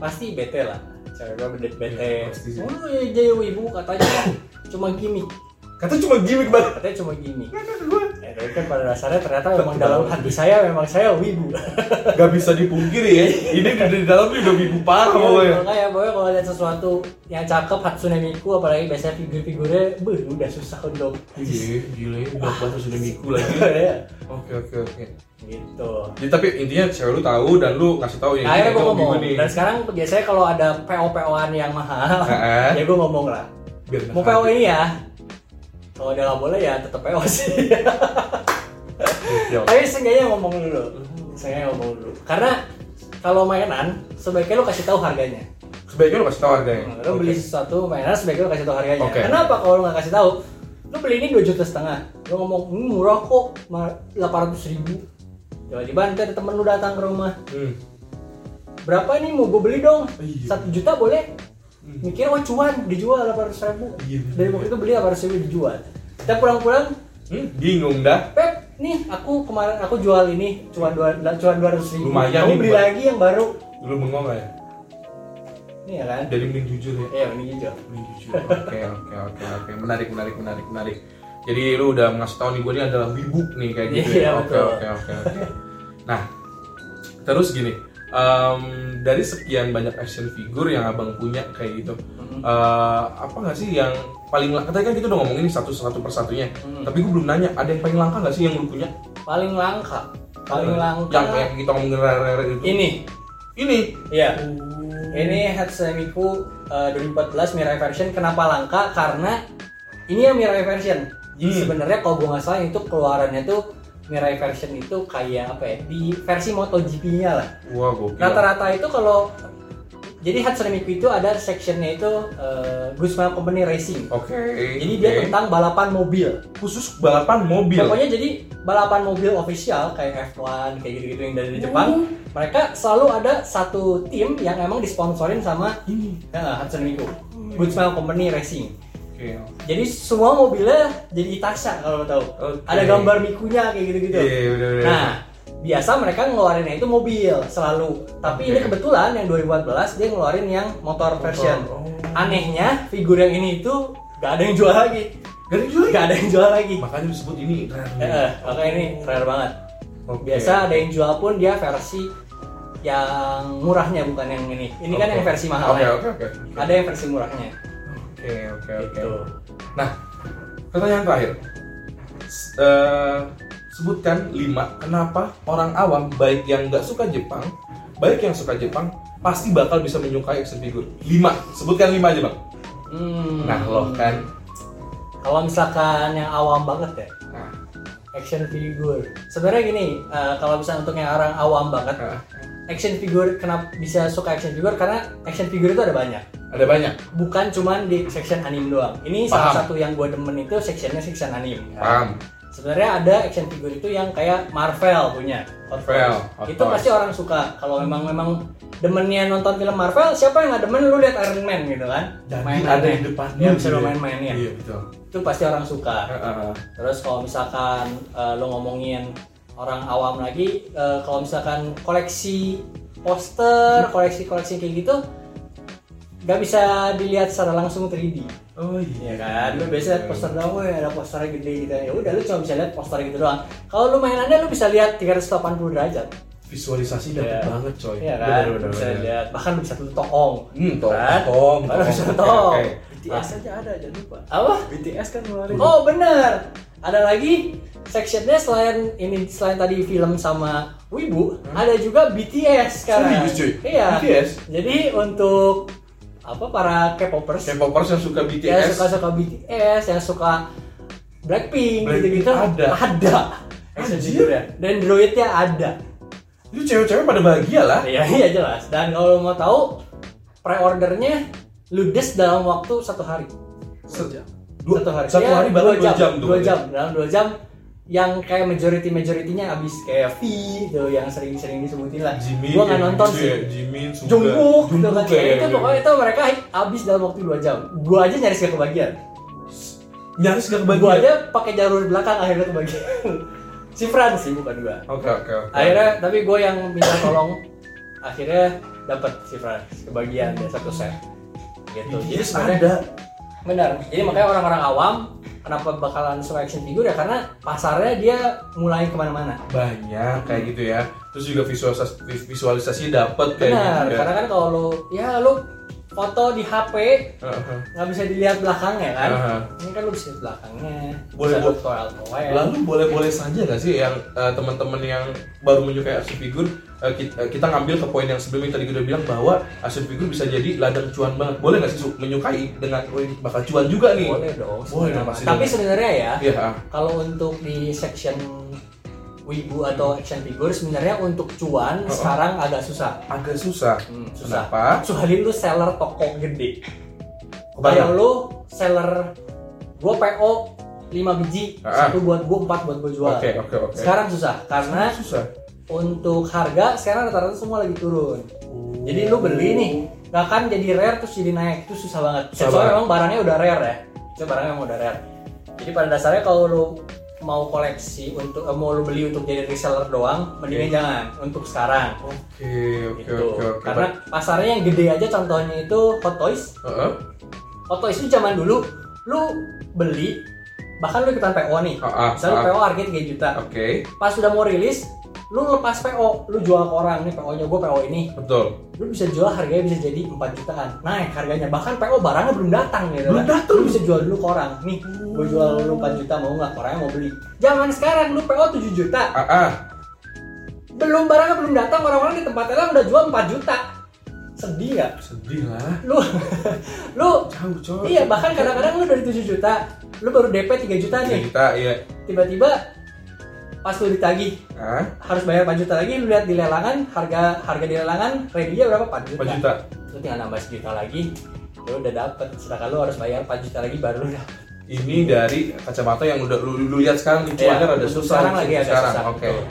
Speaker 2: pasti bete lah. Cewek gue bete. bete.
Speaker 1: Iya, pasti sih.
Speaker 2: Oh ya jadi wibu katanya cuma gimmick.
Speaker 1: Kata cuma gimmick banget.
Speaker 2: Katanya cuma gimmick.
Speaker 1: Kata gua,
Speaker 2: Ya, tapi kan pada dasarnya ternyata memang dalam hati saya memang saya wibu.
Speaker 1: Gak bisa dipungkiri ya. Ini di, di dalam ini udah wibu parah
Speaker 2: Iya,
Speaker 1: Ah, pokoknya.
Speaker 2: makanya pokoknya kalau lihat sesuatu yang cakep Hatsune Miku apalagi biasanya figur-figurnya, beuh udah susah untuk
Speaker 1: Iya, gila ya. Udah bahasa sudah miku lagi.
Speaker 2: Ya,
Speaker 1: Oke oke oke.
Speaker 2: gitu.
Speaker 1: Jadi tapi intinya cewek lu tahu dan lu ngasih tahu ya.
Speaker 2: Nah, akhirnya
Speaker 1: ini
Speaker 2: gue
Speaker 1: itu
Speaker 2: ngomong.
Speaker 1: wibu nih.
Speaker 2: Dan sekarang biasanya kalau ada PO-PO-an yang mahal,
Speaker 1: Heeh.
Speaker 2: ya gue ngomong lah.
Speaker 1: Biar enak
Speaker 2: Mau
Speaker 1: Eh, Iya, hati.
Speaker 2: PO ini ya, kalau udah nggak boleh ya tetap PO sih.
Speaker 1: Iya, oke.
Speaker 2: Tapi seenggaknya ngomong dulu. Seenggaknya ngomong dulu. Karena kalau mainan, sebaiknya lo kasih tahu harganya.
Speaker 1: Sebaiknya lu kasih tahu harganya.
Speaker 2: Nah, Lo beli sesuatu mainan sebaiknya lo kasih tahu harganya.
Speaker 1: Oke.
Speaker 2: Kenapa kalau lo nggak kasih tahu? Lo beli ini 2 juta setengah. Lo ngomong "Hmm, murah kok, delapan ratus ribu. Tiba-tiba nanti ada temen lo datang ke rumah.
Speaker 1: Hmm.
Speaker 2: Berapa nih mau gue beli dong?
Speaker 1: Iya.
Speaker 2: Satu juta boleh?
Speaker 1: Hmm.
Speaker 2: Mikir wah cuan dijual delapan ratus ribu.
Speaker 1: Iya, bener.
Speaker 2: Dari waktu itu beli delapan ratus ribu dijual. Kita pulang-pulang
Speaker 1: Hmm, bingung dah.
Speaker 2: Pep, nih aku kemarin aku jual ini cuma dua cuma dua ratus ribu.
Speaker 1: Lumayan
Speaker 2: Kamu
Speaker 1: nih,
Speaker 2: beli
Speaker 1: buat-
Speaker 2: lagi yang baru.
Speaker 1: Lu bengong nggak ya?
Speaker 2: Ini ya kan?
Speaker 1: Dari mending jujur ya.
Speaker 2: Iya, ini hijau.
Speaker 1: Mending jujur. Oke oke oke oke. Menarik menarik menarik menarik. Jadi lu udah ngasih tahu nih gue ini adalah wibuk nih kayak gitu.
Speaker 2: Iya,
Speaker 1: ya. Oke
Speaker 2: betul.
Speaker 1: oke oke. oke. Nah, terus gini. em, dari sekian banyak action figure yang abang punya kayak gitu,
Speaker 2: Mm-hmm.
Speaker 1: eh, apa nggak sih yang paling langka? Tadi kan kita udah ngomongin satu satu persatunya,
Speaker 2: Hmm.
Speaker 1: tapi gue belum nanya ada yang paling langka nggak sih yang lu punya?
Speaker 2: Paling langka, paling langka.
Speaker 1: Yang, yang kita ngomongin rare-rare itu.
Speaker 2: Ini,
Speaker 1: Ini.
Speaker 2: iya.
Speaker 1: Oh.
Speaker 2: Ini Hatsune Miku eh, 2014 Mirai version. Kenapa langka? Karena ini yang Mirai version. Jadi
Speaker 1: Hmm.
Speaker 2: sebenarnya kalau gue nggak salah itu keluarannya tuh Mirai version itu kayak apa ya? Di versi MotoGP-nya lah.
Speaker 1: Wah gokil.
Speaker 2: rata-rata itu kalau jadi Hatsune Miku itu ada sectionnya itu uh, Guzman Company Racing
Speaker 1: Oke.
Speaker 2: jadi dia
Speaker 1: oke.
Speaker 2: tentang balapan mobil
Speaker 1: khusus balapan mobil.
Speaker 2: pokoknya jadi balapan mobil official kayak F1 kayak gitu-gitu yang dari Jepang mereka selalu ada satu tim yang emang disponsorin sama
Speaker 1: ini.
Speaker 2: uh, Hatsune Miku Guzman Company Racing
Speaker 1: Oke.
Speaker 2: jadi semua mobilnya jadi Itacha kalau lo tahu
Speaker 1: Oke.
Speaker 2: ada gambar Mikunya kayak gitu-gitu
Speaker 1: Iya, udah udah.
Speaker 2: Nah, biasa mereka ngeluarinnya itu mobil selalu.
Speaker 1: Oke.
Speaker 2: Tapi ini kebetulan yang 2014 dia ngeluarin yang motor version.
Speaker 1: oh.
Speaker 2: Anehnya figur yang ini itu gak ada yang jual lagi.
Speaker 1: Garing juga.
Speaker 2: Gak ada yang jual lagi.
Speaker 1: Makanya disebut ini rare.
Speaker 2: Eh, eh, makanya ini rare banget.
Speaker 1: Oke.
Speaker 2: Biasa ada yang jual pun dia versi yang murahnya bukan yang ini. Ini kan
Speaker 1: Oke.
Speaker 2: yang versi mahalnya.
Speaker 1: Oke, oke, oke.
Speaker 2: Ada yang versi murahnya.
Speaker 1: Oke, oke, oke.
Speaker 2: Gitu.
Speaker 1: Nah, pertanyaan terakhir. S- eh, sebutkan lima kenapa orang awam baik yang nggak suka Jepang, baik yang suka Jepang pasti bakal bisa menyukai action figure. Lima, sebutkan lima aja bang.
Speaker 2: Hmm.
Speaker 1: Nah lo kan,
Speaker 2: Kalau misalkan yang awam banget ya,
Speaker 1: nah,
Speaker 2: action figure. Sebenarnya gini, eh, kalau misalnya untuk yang orang awam banget,
Speaker 1: eh,
Speaker 2: action figure kenapa bisa suka action figure karena action figure itu ada banyak.
Speaker 1: ada banyak.
Speaker 2: Bukan cuman di section anime doang. Ini
Speaker 1: Paham.
Speaker 2: salah satu yang gue demen itu sectionnya section anime.
Speaker 1: Paham?
Speaker 2: Sebenarnya ada action figure itu yang kayak Marvel punya. Hot
Speaker 1: Marvel,
Speaker 2: Toys.
Speaker 1: Hot
Speaker 2: Itu
Speaker 1: Toys.
Speaker 2: pasti orang suka. Kalau memang memang demennya nonton film Marvel, siapa yang nggak demen lu lihat Iron Man gitu kan?
Speaker 1: Jadi
Speaker 2: Mainannya.
Speaker 1: ada di depan
Speaker 2: Ya
Speaker 1: lu
Speaker 2: bisa
Speaker 1: gitu
Speaker 2: lu
Speaker 1: ya.
Speaker 2: main-mainnya.
Speaker 1: Iya betul.
Speaker 2: Itu pasti orang suka.
Speaker 1: Eh, eh, eh.
Speaker 2: Terus kalau misalkan eh, lo ngomongin orang awam lagi, eh, kalau misalkan koleksi poster, koleksi-koleksi kayak gitu, nggak bisa dilihat secara langsung 3D.
Speaker 1: Oh
Speaker 2: Iya kan, lu biasa lihat poster doang, "Wih, ada posternya gede gitu. Ya udah, lu cuma bisa lihat poster gitu doang. Kalau lu mainannya, lu bisa lihat 380 derajat.
Speaker 1: Visualisasi
Speaker 2: Iya.
Speaker 1: dapet banget coy.
Speaker 2: Iya kan,
Speaker 1: Bener, bener,
Speaker 2: bisa
Speaker 1: bener.
Speaker 2: lihat, bahkan lu bisa tuh toong.
Speaker 1: Hmm, toong,
Speaker 2: Kan?
Speaker 1: toong,
Speaker 2: Bahkan lu
Speaker 1: toong.
Speaker 2: bisa
Speaker 1: Oke,
Speaker 2: toong.
Speaker 1: oke.
Speaker 3: BTS aja ada jangan lupa
Speaker 2: Apa?
Speaker 3: BTS kan ngeluarin
Speaker 2: Oh benar. Ada lagi sectionnya selain ini selain tadi film sama Wibu, ada juga BTS
Speaker 1: Hmm.
Speaker 2: sekarang.
Speaker 1: Serius, cuy?
Speaker 2: Iya.
Speaker 1: BTS?
Speaker 2: Jadi untuk apa para K-popers
Speaker 1: K-popers yang suka
Speaker 2: yang
Speaker 1: BTS.
Speaker 2: suka suka BTS, yang suka Blackpink
Speaker 1: Blackpink
Speaker 2: gitu-gitu
Speaker 1: ada.
Speaker 2: Ada.
Speaker 1: Anjir.
Speaker 2: Sejujurnya. Dan droidnya ada.
Speaker 1: Itu cewek-cewek pada bahagia lah.
Speaker 2: Iya iya jelas. Dan kalau mau tahu pre-ordernya ludes dalam waktu satu hari.
Speaker 1: Se- dua,
Speaker 2: satu hari
Speaker 1: Satu
Speaker 2: Ya,
Speaker 1: hari bahkan dua jam, tuh.
Speaker 2: dua jam dalam dua jam yang kayak majority majoritinya abis kayak V tuh yang sering-sering disebutin lah
Speaker 1: Jimin,
Speaker 2: Iya. gua nggak nonton
Speaker 1: Jungkook
Speaker 2: sih
Speaker 1: ya, Jimin, Suga.
Speaker 2: Jungkook gitu
Speaker 1: Jungkook
Speaker 2: kan
Speaker 1: ya,
Speaker 2: itu
Speaker 1: ya, ya.
Speaker 2: pokoknya itu mereka abis dalam waktu dua jam gua aja nyaris gak kebagian
Speaker 1: Nyaris gak kebagian.
Speaker 2: gua aja pakai jalur belakang akhirnya kebagian si Fran sih bukan gua
Speaker 1: Oke, oke, oke.
Speaker 2: akhirnya tapi gua yang minta tolong akhirnya dapat si Fran kebagian dia satu set gitu
Speaker 1: BTS Iya,
Speaker 2: sebenarnya-
Speaker 1: ada.
Speaker 2: Benar. Jadi makanya orang-orang awam kenapa bakalan suka action figure ya karena pasarnya dia mulai kemana-mana.
Speaker 1: banyak kayak gitu ya terus juga visualisasi visualisasi dapat kayak
Speaker 2: Benar.
Speaker 1: gitu ya.
Speaker 2: Karena kan kalau lu ya lu foto di HP
Speaker 1: Heeh.
Speaker 2: nggak bisa dilihat belakangnya kan.
Speaker 1: Aha.
Speaker 2: Ini kan lu bisa lihat belakangnya.
Speaker 1: Boleh,
Speaker 2: bisa
Speaker 1: boleh.
Speaker 2: toel toel.
Speaker 1: lalu boleh-boleh saja nggak sih yang eh, teman-teman yang baru menyukai action figure eh, kit- eh, kita, ngambil ke poin yang sebelumnya tadi kita bilang bahwa action figure bisa jadi ladang cuan banget boleh nggak sih Su? menyukai dengan "Wih, bakal cuan juga nih
Speaker 2: Boleh
Speaker 1: Boleh dong,
Speaker 2: dong. sebenarnya.
Speaker 1: pasti
Speaker 2: Tapi
Speaker 1: dong.
Speaker 2: sebenarnya ya
Speaker 1: Iya, ah.
Speaker 2: kalau untuk di section wibu atau action figure sebenarnya untuk
Speaker 1: Oh,
Speaker 2: cuan
Speaker 1: oh.
Speaker 2: sekarang agak susah.
Speaker 1: agak susah
Speaker 2: Hmm, susah.
Speaker 1: kenapa Oh,
Speaker 2: Kecuali lu seller toko gede. Kayak
Speaker 1: Kebayang.
Speaker 2: lu seller gua PO 5 biji,
Speaker 1: Ah.
Speaker 2: satu buat gua, empat buat gua jual.
Speaker 1: oke oke oke
Speaker 2: Sekarang susah karena
Speaker 1: susah
Speaker 2: untuk harga sekarang rata-rata semua lagi turun. Jadi lu beli nih, nggak akan jadi rare terus jadi naik itu susah banget.
Speaker 1: Susah
Speaker 2: Soalnya
Speaker 1: banget.
Speaker 2: memang barangnya udah rare ya. Itu barangnya memang udah rare. Jadi pada dasarnya kalau lu mau koleksi untuk eh, mau lu beli untuk jadi reseller doang, mendingan
Speaker 1: Oke.
Speaker 2: jangan untuk sekarang.
Speaker 1: oke oke
Speaker 2: Gitu.
Speaker 1: oke oke
Speaker 2: Karena pasarnya yang gede aja contohnya itu Hot Toys.
Speaker 1: Heeh.
Speaker 2: Hot Toys itu zaman dulu lu beli bahkan lu ikutan PO nih.
Speaker 1: Ah, ah,
Speaker 2: Misalnya
Speaker 1: ah.
Speaker 2: PO harganya 3 juta.
Speaker 1: oke
Speaker 2: Pas sudah mau rilis, lu lepas PO, lu jual ke orang nih PO-nya gua PO ini.
Speaker 1: betul
Speaker 2: Lu bisa jual harganya bisa jadi 4 jutaan. Naik harganya bahkan PO barangnya belum datang gitu.
Speaker 1: Belum
Speaker 2: kan.
Speaker 1: datang.
Speaker 2: Lu bisa jual dulu ke orang. Nih, gua jual lu 4 juta mau nggak? Orangnya mau beli. Zaman sekarang lu PO 7 juta.
Speaker 1: ah, ah.
Speaker 2: Belum barangnya belum datang, orang-orang di tempat lelang udah jual 4 juta. Sedih nggak?
Speaker 1: sedih lah
Speaker 2: Lu lu
Speaker 1: jauh coy
Speaker 2: Iya, bahkan kadang-kadang lu dari 7 juta, lu baru DP 3 juta
Speaker 1: Tiga
Speaker 2: nih.
Speaker 1: juta iya
Speaker 2: Tiba-tiba pas lu ditagih
Speaker 1: ah
Speaker 2: harus bayar 4 juta lagi, lu lihat di lelangan harga harga di lelangan radinya berapa? 4 juta.
Speaker 1: 4 juta
Speaker 2: Lu tinggal nambah sejuta lagi, lu udah dapet. Sedangkan lu harus bayar 4 juta lagi baru lu dapet.
Speaker 1: ini dari kacamata yang udah lu, lu- lu lihat sekarang di cuannya
Speaker 2: Iya,
Speaker 1: rada
Speaker 2: untuk
Speaker 1: susah
Speaker 2: sekarang
Speaker 1: untuk
Speaker 2: lagi agak
Speaker 1: sekarang.
Speaker 2: susah,
Speaker 1: oke
Speaker 2: betul.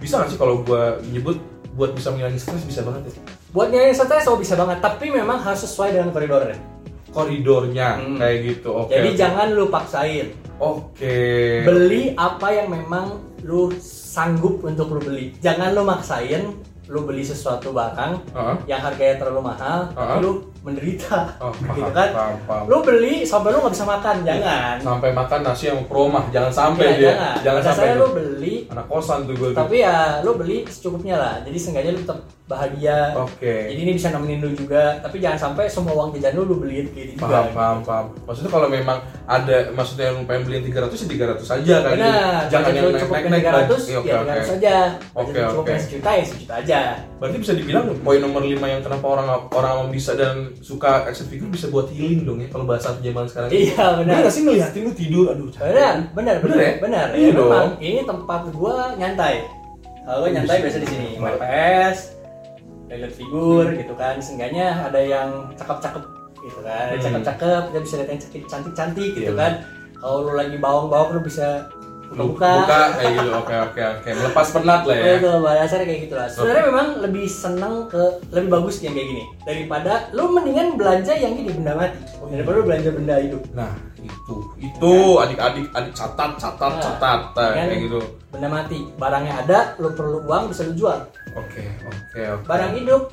Speaker 1: bisa nggak sih kalau gua nyebut buat bisa menghilangin stres bisa banget ya
Speaker 2: Buat nyari stres oh bisa banget, tapi memang harus sesuai dengan koridornya.
Speaker 1: koridornya
Speaker 2: Hmm.
Speaker 1: kayak gitu oke
Speaker 2: Jadi jangan lu paksain.
Speaker 1: oke
Speaker 2: Beli apa yang memang lu sanggup untuk lu beli. Jangan lu maksain lu beli sesuatu barang
Speaker 1: Heeh.
Speaker 2: yang harganya terlalu mahal, tapi
Speaker 1: Uh-uh.
Speaker 2: lu menderita,
Speaker 1: Oh, paham,
Speaker 2: gitu kan?
Speaker 1: paham, paham.
Speaker 2: Lu beli sampai lu nggak bisa makan, jangan.
Speaker 1: sampai makan nasi yang promah jangan sampai
Speaker 2: Ya,
Speaker 1: dia
Speaker 2: jangan.
Speaker 1: jangan
Speaker 2: Pada
Speaker 1: sampai
Speaker 2: dasarnya
Speaker 1: itu.
Speaker 2: lu beli,
Speaker 1: anak kosan tuh gua gitu. tuh.
Speaker 2: tapi ya lu beli secukupnya lah. Jadi seenggaknya lu tetap bahagia.
Speaker 1: Oke.
Speaker 2: Jadi ini bisa nemenin lu juga, tapi jangan sampai semua uang jajan lu lu beliin kayak gitu
Speaker 1: paham
Speaker 2: juga.
Speaker 1: paham paham maksudnya kalau memang ada maksudnya yang pengen beliin 300 ya 300 aja kan gitu.
Speaker 2: Benar.
Speaker 1: jangan
Speaker 2: Budget
Speaker 1: yang
Speaker 2: lu
Speaker 1: naik
Speaker 2: cukup
Speaker 1: naik
Speaker 2: yang
Speaker 1: naik
Speaker 2: 300, ya 300 aja.
Speaker 1: Iya, Oke,
Speaker 2: Budget lu cukup
Speaker 1: oke.
Speaker 2: yang sejuta ya sejuta aja.
Speaker 1: Berarti bisa dibilang poin nomor 5 yang kenapa orang orang awam bisa dan suka action figure bisa buat healing dong ya kalau bahasa zaman sekarang.
Speaker 2: Iya, benar.
Speaker 1: nggak sih ngeliatin lu tidur aduh capek.
Speaker 2: Benar, benar,
Speaker 1: Benar
Speaker 2: benar,
Speaker 1: ya?
Speaker 2: benar.
Speaker 1: Iya
Speaker 2: Ya, memang
Speaker 1: dong.
Speaker 2: ini tempat gua nyantai. Kalau gua nyantai biasa di
Speaker 1: Iya.
Speaker 2: sini, main PS, lihat figur gitu kan. Seenggaknya ada yang cakep-cakep gitu kan, ada
Speaker 1: Hmm.
Speaker 2: cakep-cakep, dia bisa lihat yang cantik-cantik gitu
Speaker 1: Iya.
Speaker 2: kan. Kalau lu lagi bawang-bawang lu bisa
Speaker 1: Lu
Speaker 2: buka-buka.
Speaker 1: kayak gitu. Oke oke oke. Melepas penat lah ya.
Speaker 2: Ya, itu pada dasarnya kayak gitulah. Sebenarnya memang lebih seneng ke lebih bagus yang kayak gini daripada lu mendingan belanja yang ini benda mati Oh, daripada lu belanja benda hidup.
Speaker 1: Nah, itu. Itu adik-adik adik catat catat
Speaker 2: Nah,
Speaker 1: catat eh,
Speaker 2: kan?
Speaker 1: kayak gitu.
Speaker 2: Benda mati, barangnya ada, lu perlu uang bisa lu jual.
Speaker 1: Oke oke oke.
Speaker 2: Barang hidup,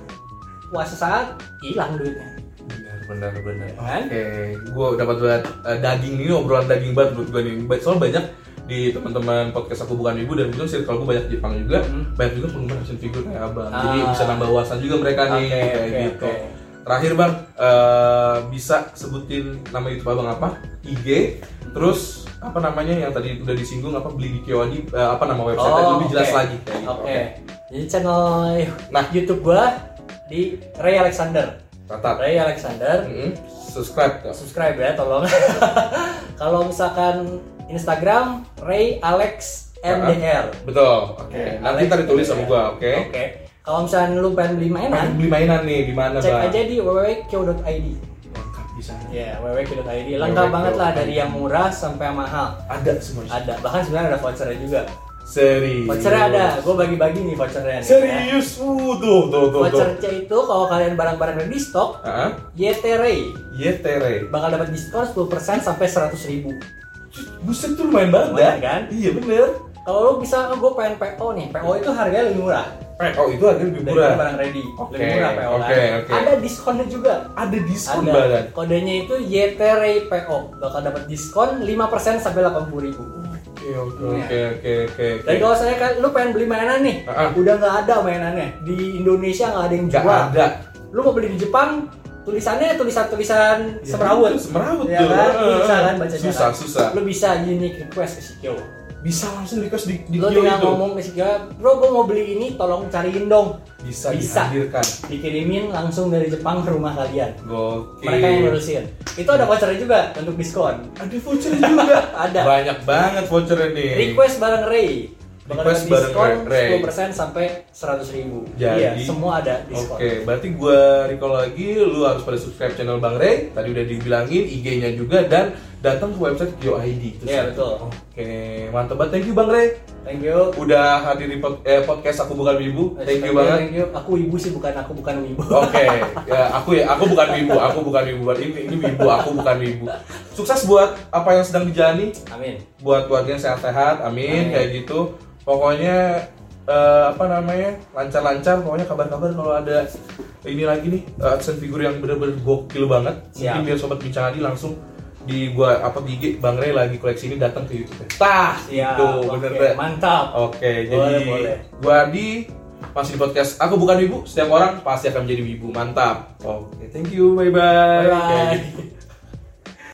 Speaker 2: puasa saat hilang duitnya.
Speaker 1: benar benar benar.
Speaker 2: Ya kan?
Speaker 1: Oke, gue dapat banget eh, daging ini obrolan daging banget menurut gue nih. Ba- Soalnya banyak di teman-teman podcast aku bukan ibu dan kebetulan circle gue banyak Jepang juga,
Speaker 2: Hmm.
Speaker 1: banyak juga penggemar action figure kayak abang.
Speaker 2: Ah.
Speaker 1: Jadi bisa nambah wawasan juga mereka nih
Speaker 2: Oke,
Speaker 1: kayak
Speaker 2: oke,
Speaker 1: gitu.
Speaker 2: oke.
Speaker 1: Terakhir bang, eh, bisa sebutin nama YouTube abang apa? IG, terus apa namanya yang tadi udah disinggung apa beli di Kiwadi eh, apa nama website lebih jelas
Speaker 2: Oh, oke.
Speaker 1: lagi kayak gitu.
Speaker 2: Oke. Jadi channel
Speaker 1: Nah.
Speaker 2: nah YouTube gua di Ray Alexander.
Speaker 1: Catat.
Speaker 2: Ray Alexander,
Speaker 1: Mm-mm. Subscribe. ya.
Speaker 2: subscribe ya tolong. Kalau misalkan Instagram Ray Alex MDR.
Speaker 1: Betul. Oke. Nanti
Speaker 2: Alex
Speaker 1: ntar ditulis sama
Speaker 2: MDR.
Speaker 1: gue, Nah. oke? Nah,
Speaker 2: Oke. Kalau misalkan lu pengen beli mainan,
Speaker 1: Pengen beli mainan nih di mana
Speaker 2: Eh, cek
Speaker 1: bang?
Speaker 2: aja di www.kyo.id.
Speaker 1: Lengkap di sana.
Speaker 2: Ya, www.kyo.id lengkap banget lah dari yang murah sampai yang mahal.
Speaker 1: Ada semuanya.
Speaker 2: Ada, bahkan sebenarnya ada vouchernya juga.
Speaker 1: Serius.
Speaker 2: Vouchernya Oh, ada, gue bagi-bagi nih vouchernya. nih, ya.
Speaker 1: Serius. Uh, tuh tuh tuh tuh.
Speaker 2: Vouchernya itu kalau kalian barang-barang yang di stok,
Speaker 1: Heeh. Iya,
Speaker 2: YT Ray
Speaker 1: Yetere.
Speaker 2: bakal dapat diskon 10% sampai 100 ribu.
Speaker 1: Buset tuh lumayan banget
Speaker 2: Lumayan,
Speaker 1: dah.
Speaker 2: kan?
Speaker 1: Iya bener.
Speaker 2: oh, Kalau lo bisa, gue pengen PO nih. PO itu harganya lebih murah.
Speaker 1: Pet. Oh, itu harganya lebih
Speaker 2: Eh, Dari
Speaker 1: murah.
Speaker 2: barang ready,
Speaker 1: Oke,
Speaker 2: lebih murah PO kan.
Speaker 1: oke, oke.
Speaker 2: Ada diskonnya juga.
Speaker 1: Ada diskon
Speaker 2: Ada.
Speaker 1: badan.
Speaker 2: Kodenya itu YTRPO PO. Bakal dapat diskon 5% sampai 80 ribu.
Speaker 1: Oke,
Speaker 2: Iya,
Speaker 1: oke, oke, oke, oke.
Speaker 2: Dan kalau saya kan, lu pengen beli mainan nih,
Speaker 1: Ah, ah.
Speaker 2: udah nggak ada mainannya di Indonesia nggak ada yang
Speaker 1: Nggak
Speaker 2: jual.
Speaker 1: ada.
Speaker 2: Lu mau beli di Jepang, tulisannya tulisan-tulisan
Speaker 1: Ya,
Speaker 2: semrawut.
Speaker 1: itu Semerawut
Speaker 2: Ya
Speaker 1: tuh.
Speaker 2: kan?
Speaker 1: Eh, eh,
Speaker 2: Susah
Speaker 1: eh.
Speaker 2: kan bacanya,
Speaker 1: Susah,
Speaker 2: kan?
Speaker 1: susah.
Speaker 2: Lu bisa unique request ke Sikyo.
Speaker 1: Bisa langsung request di di
Speaker 2: Lu
Speaker 1: Kyo
Speaker 2: tinggal
Speaker 1: itu.
Speaker 2: ngomong ke Sikyo, bro gue mau beli ini, tolong cariin dong.
Speaker 1: Bisa,
Speaker 2: Bisa.
Speaker 1: dihadirkan.
Speaker 2: Dikirimin langsung dari Jepang ke rumah kalian.
Speaker 1: Gokil.
Speaker 2: Mereka yang ngurusin. Itu ada vouchernya juga untuk diskon.
Speaker 1: Ada voucher juga.
Speaker 2: Ada.
Speaker 1: Banyak banget vouchernya nih.
Speaker 2: Request bareng Ray. Bakal
Speaker 1: Request
Speaker 2: ada
Speaker 1: bareng
Speaker 2: diskon
Speaker 1: Ray.
Speaker 2: 10% sampai 100 ribu.
Speaker 1: Jadi-
Speaker 2: iya, semua ada diskon.
Speaker 1: Oke, berarti gue recall lagi, lu harus pada subscribe channel Bang Rey. Tadi udah dibilangin IG-nya juga dan datang ke website GeoID. Itu
Speaker 2: Iya,
Speaker 1: sih.
Speaker 2: betul.
Speaker 1: Oke, mantap banget. Thank you Bang Rey.
Speaker 2: Thank you.
Speaker 1: Udah hadir di pod- eh, podcast aku bukan wibu. Thank you banget.
Speaker 2: Thank you. Aku ibu sih bukan aku bukan wibu.
Speaker 1: Oke, ya, aku ya, aku bukan wibu, aku bukan wibu. Ini ini wibu, aku bukan wibu. Sukses buat apa yang sedang dijalani.
Speaker 2: Amin.
Speaker 1: buat keluarga yang sehat-sehat, amin,
Speaker 2: Amin.
Speaker 1: kayak gitu. Pokoknya eh, apa namanya lancar-lancar, pokoknya kabar-kabar kalau ada ini lagi nih eh, action figure yang bener-bener gokil banget. Mungkin
Speaker 2: Siap.
Speaker 1: biar sobat bincang Adi langsung di gua apa di IG Bang Rey lagi koleksi ini datang ke YouTube. Tah,
Speaker 2: Siap.
Speaker 1: gitu,
Speaker 2: Oke,
Speaker 1: bener deh.
Speaker 2: Mantap.
Speaker 1: Oke,
Speaker 2: Boleh,
Speaker 1: jadi
Speaker 2: boleh.
Speaker 1: gua Adi masih di podcast. Aku bukan ibu, setiap orang pasti akan menjadi ibu. Mantap. Oke, thank you. Bye-bye.
Speaker 2: Bye-bye.
Speaker 1: Kayak gitu.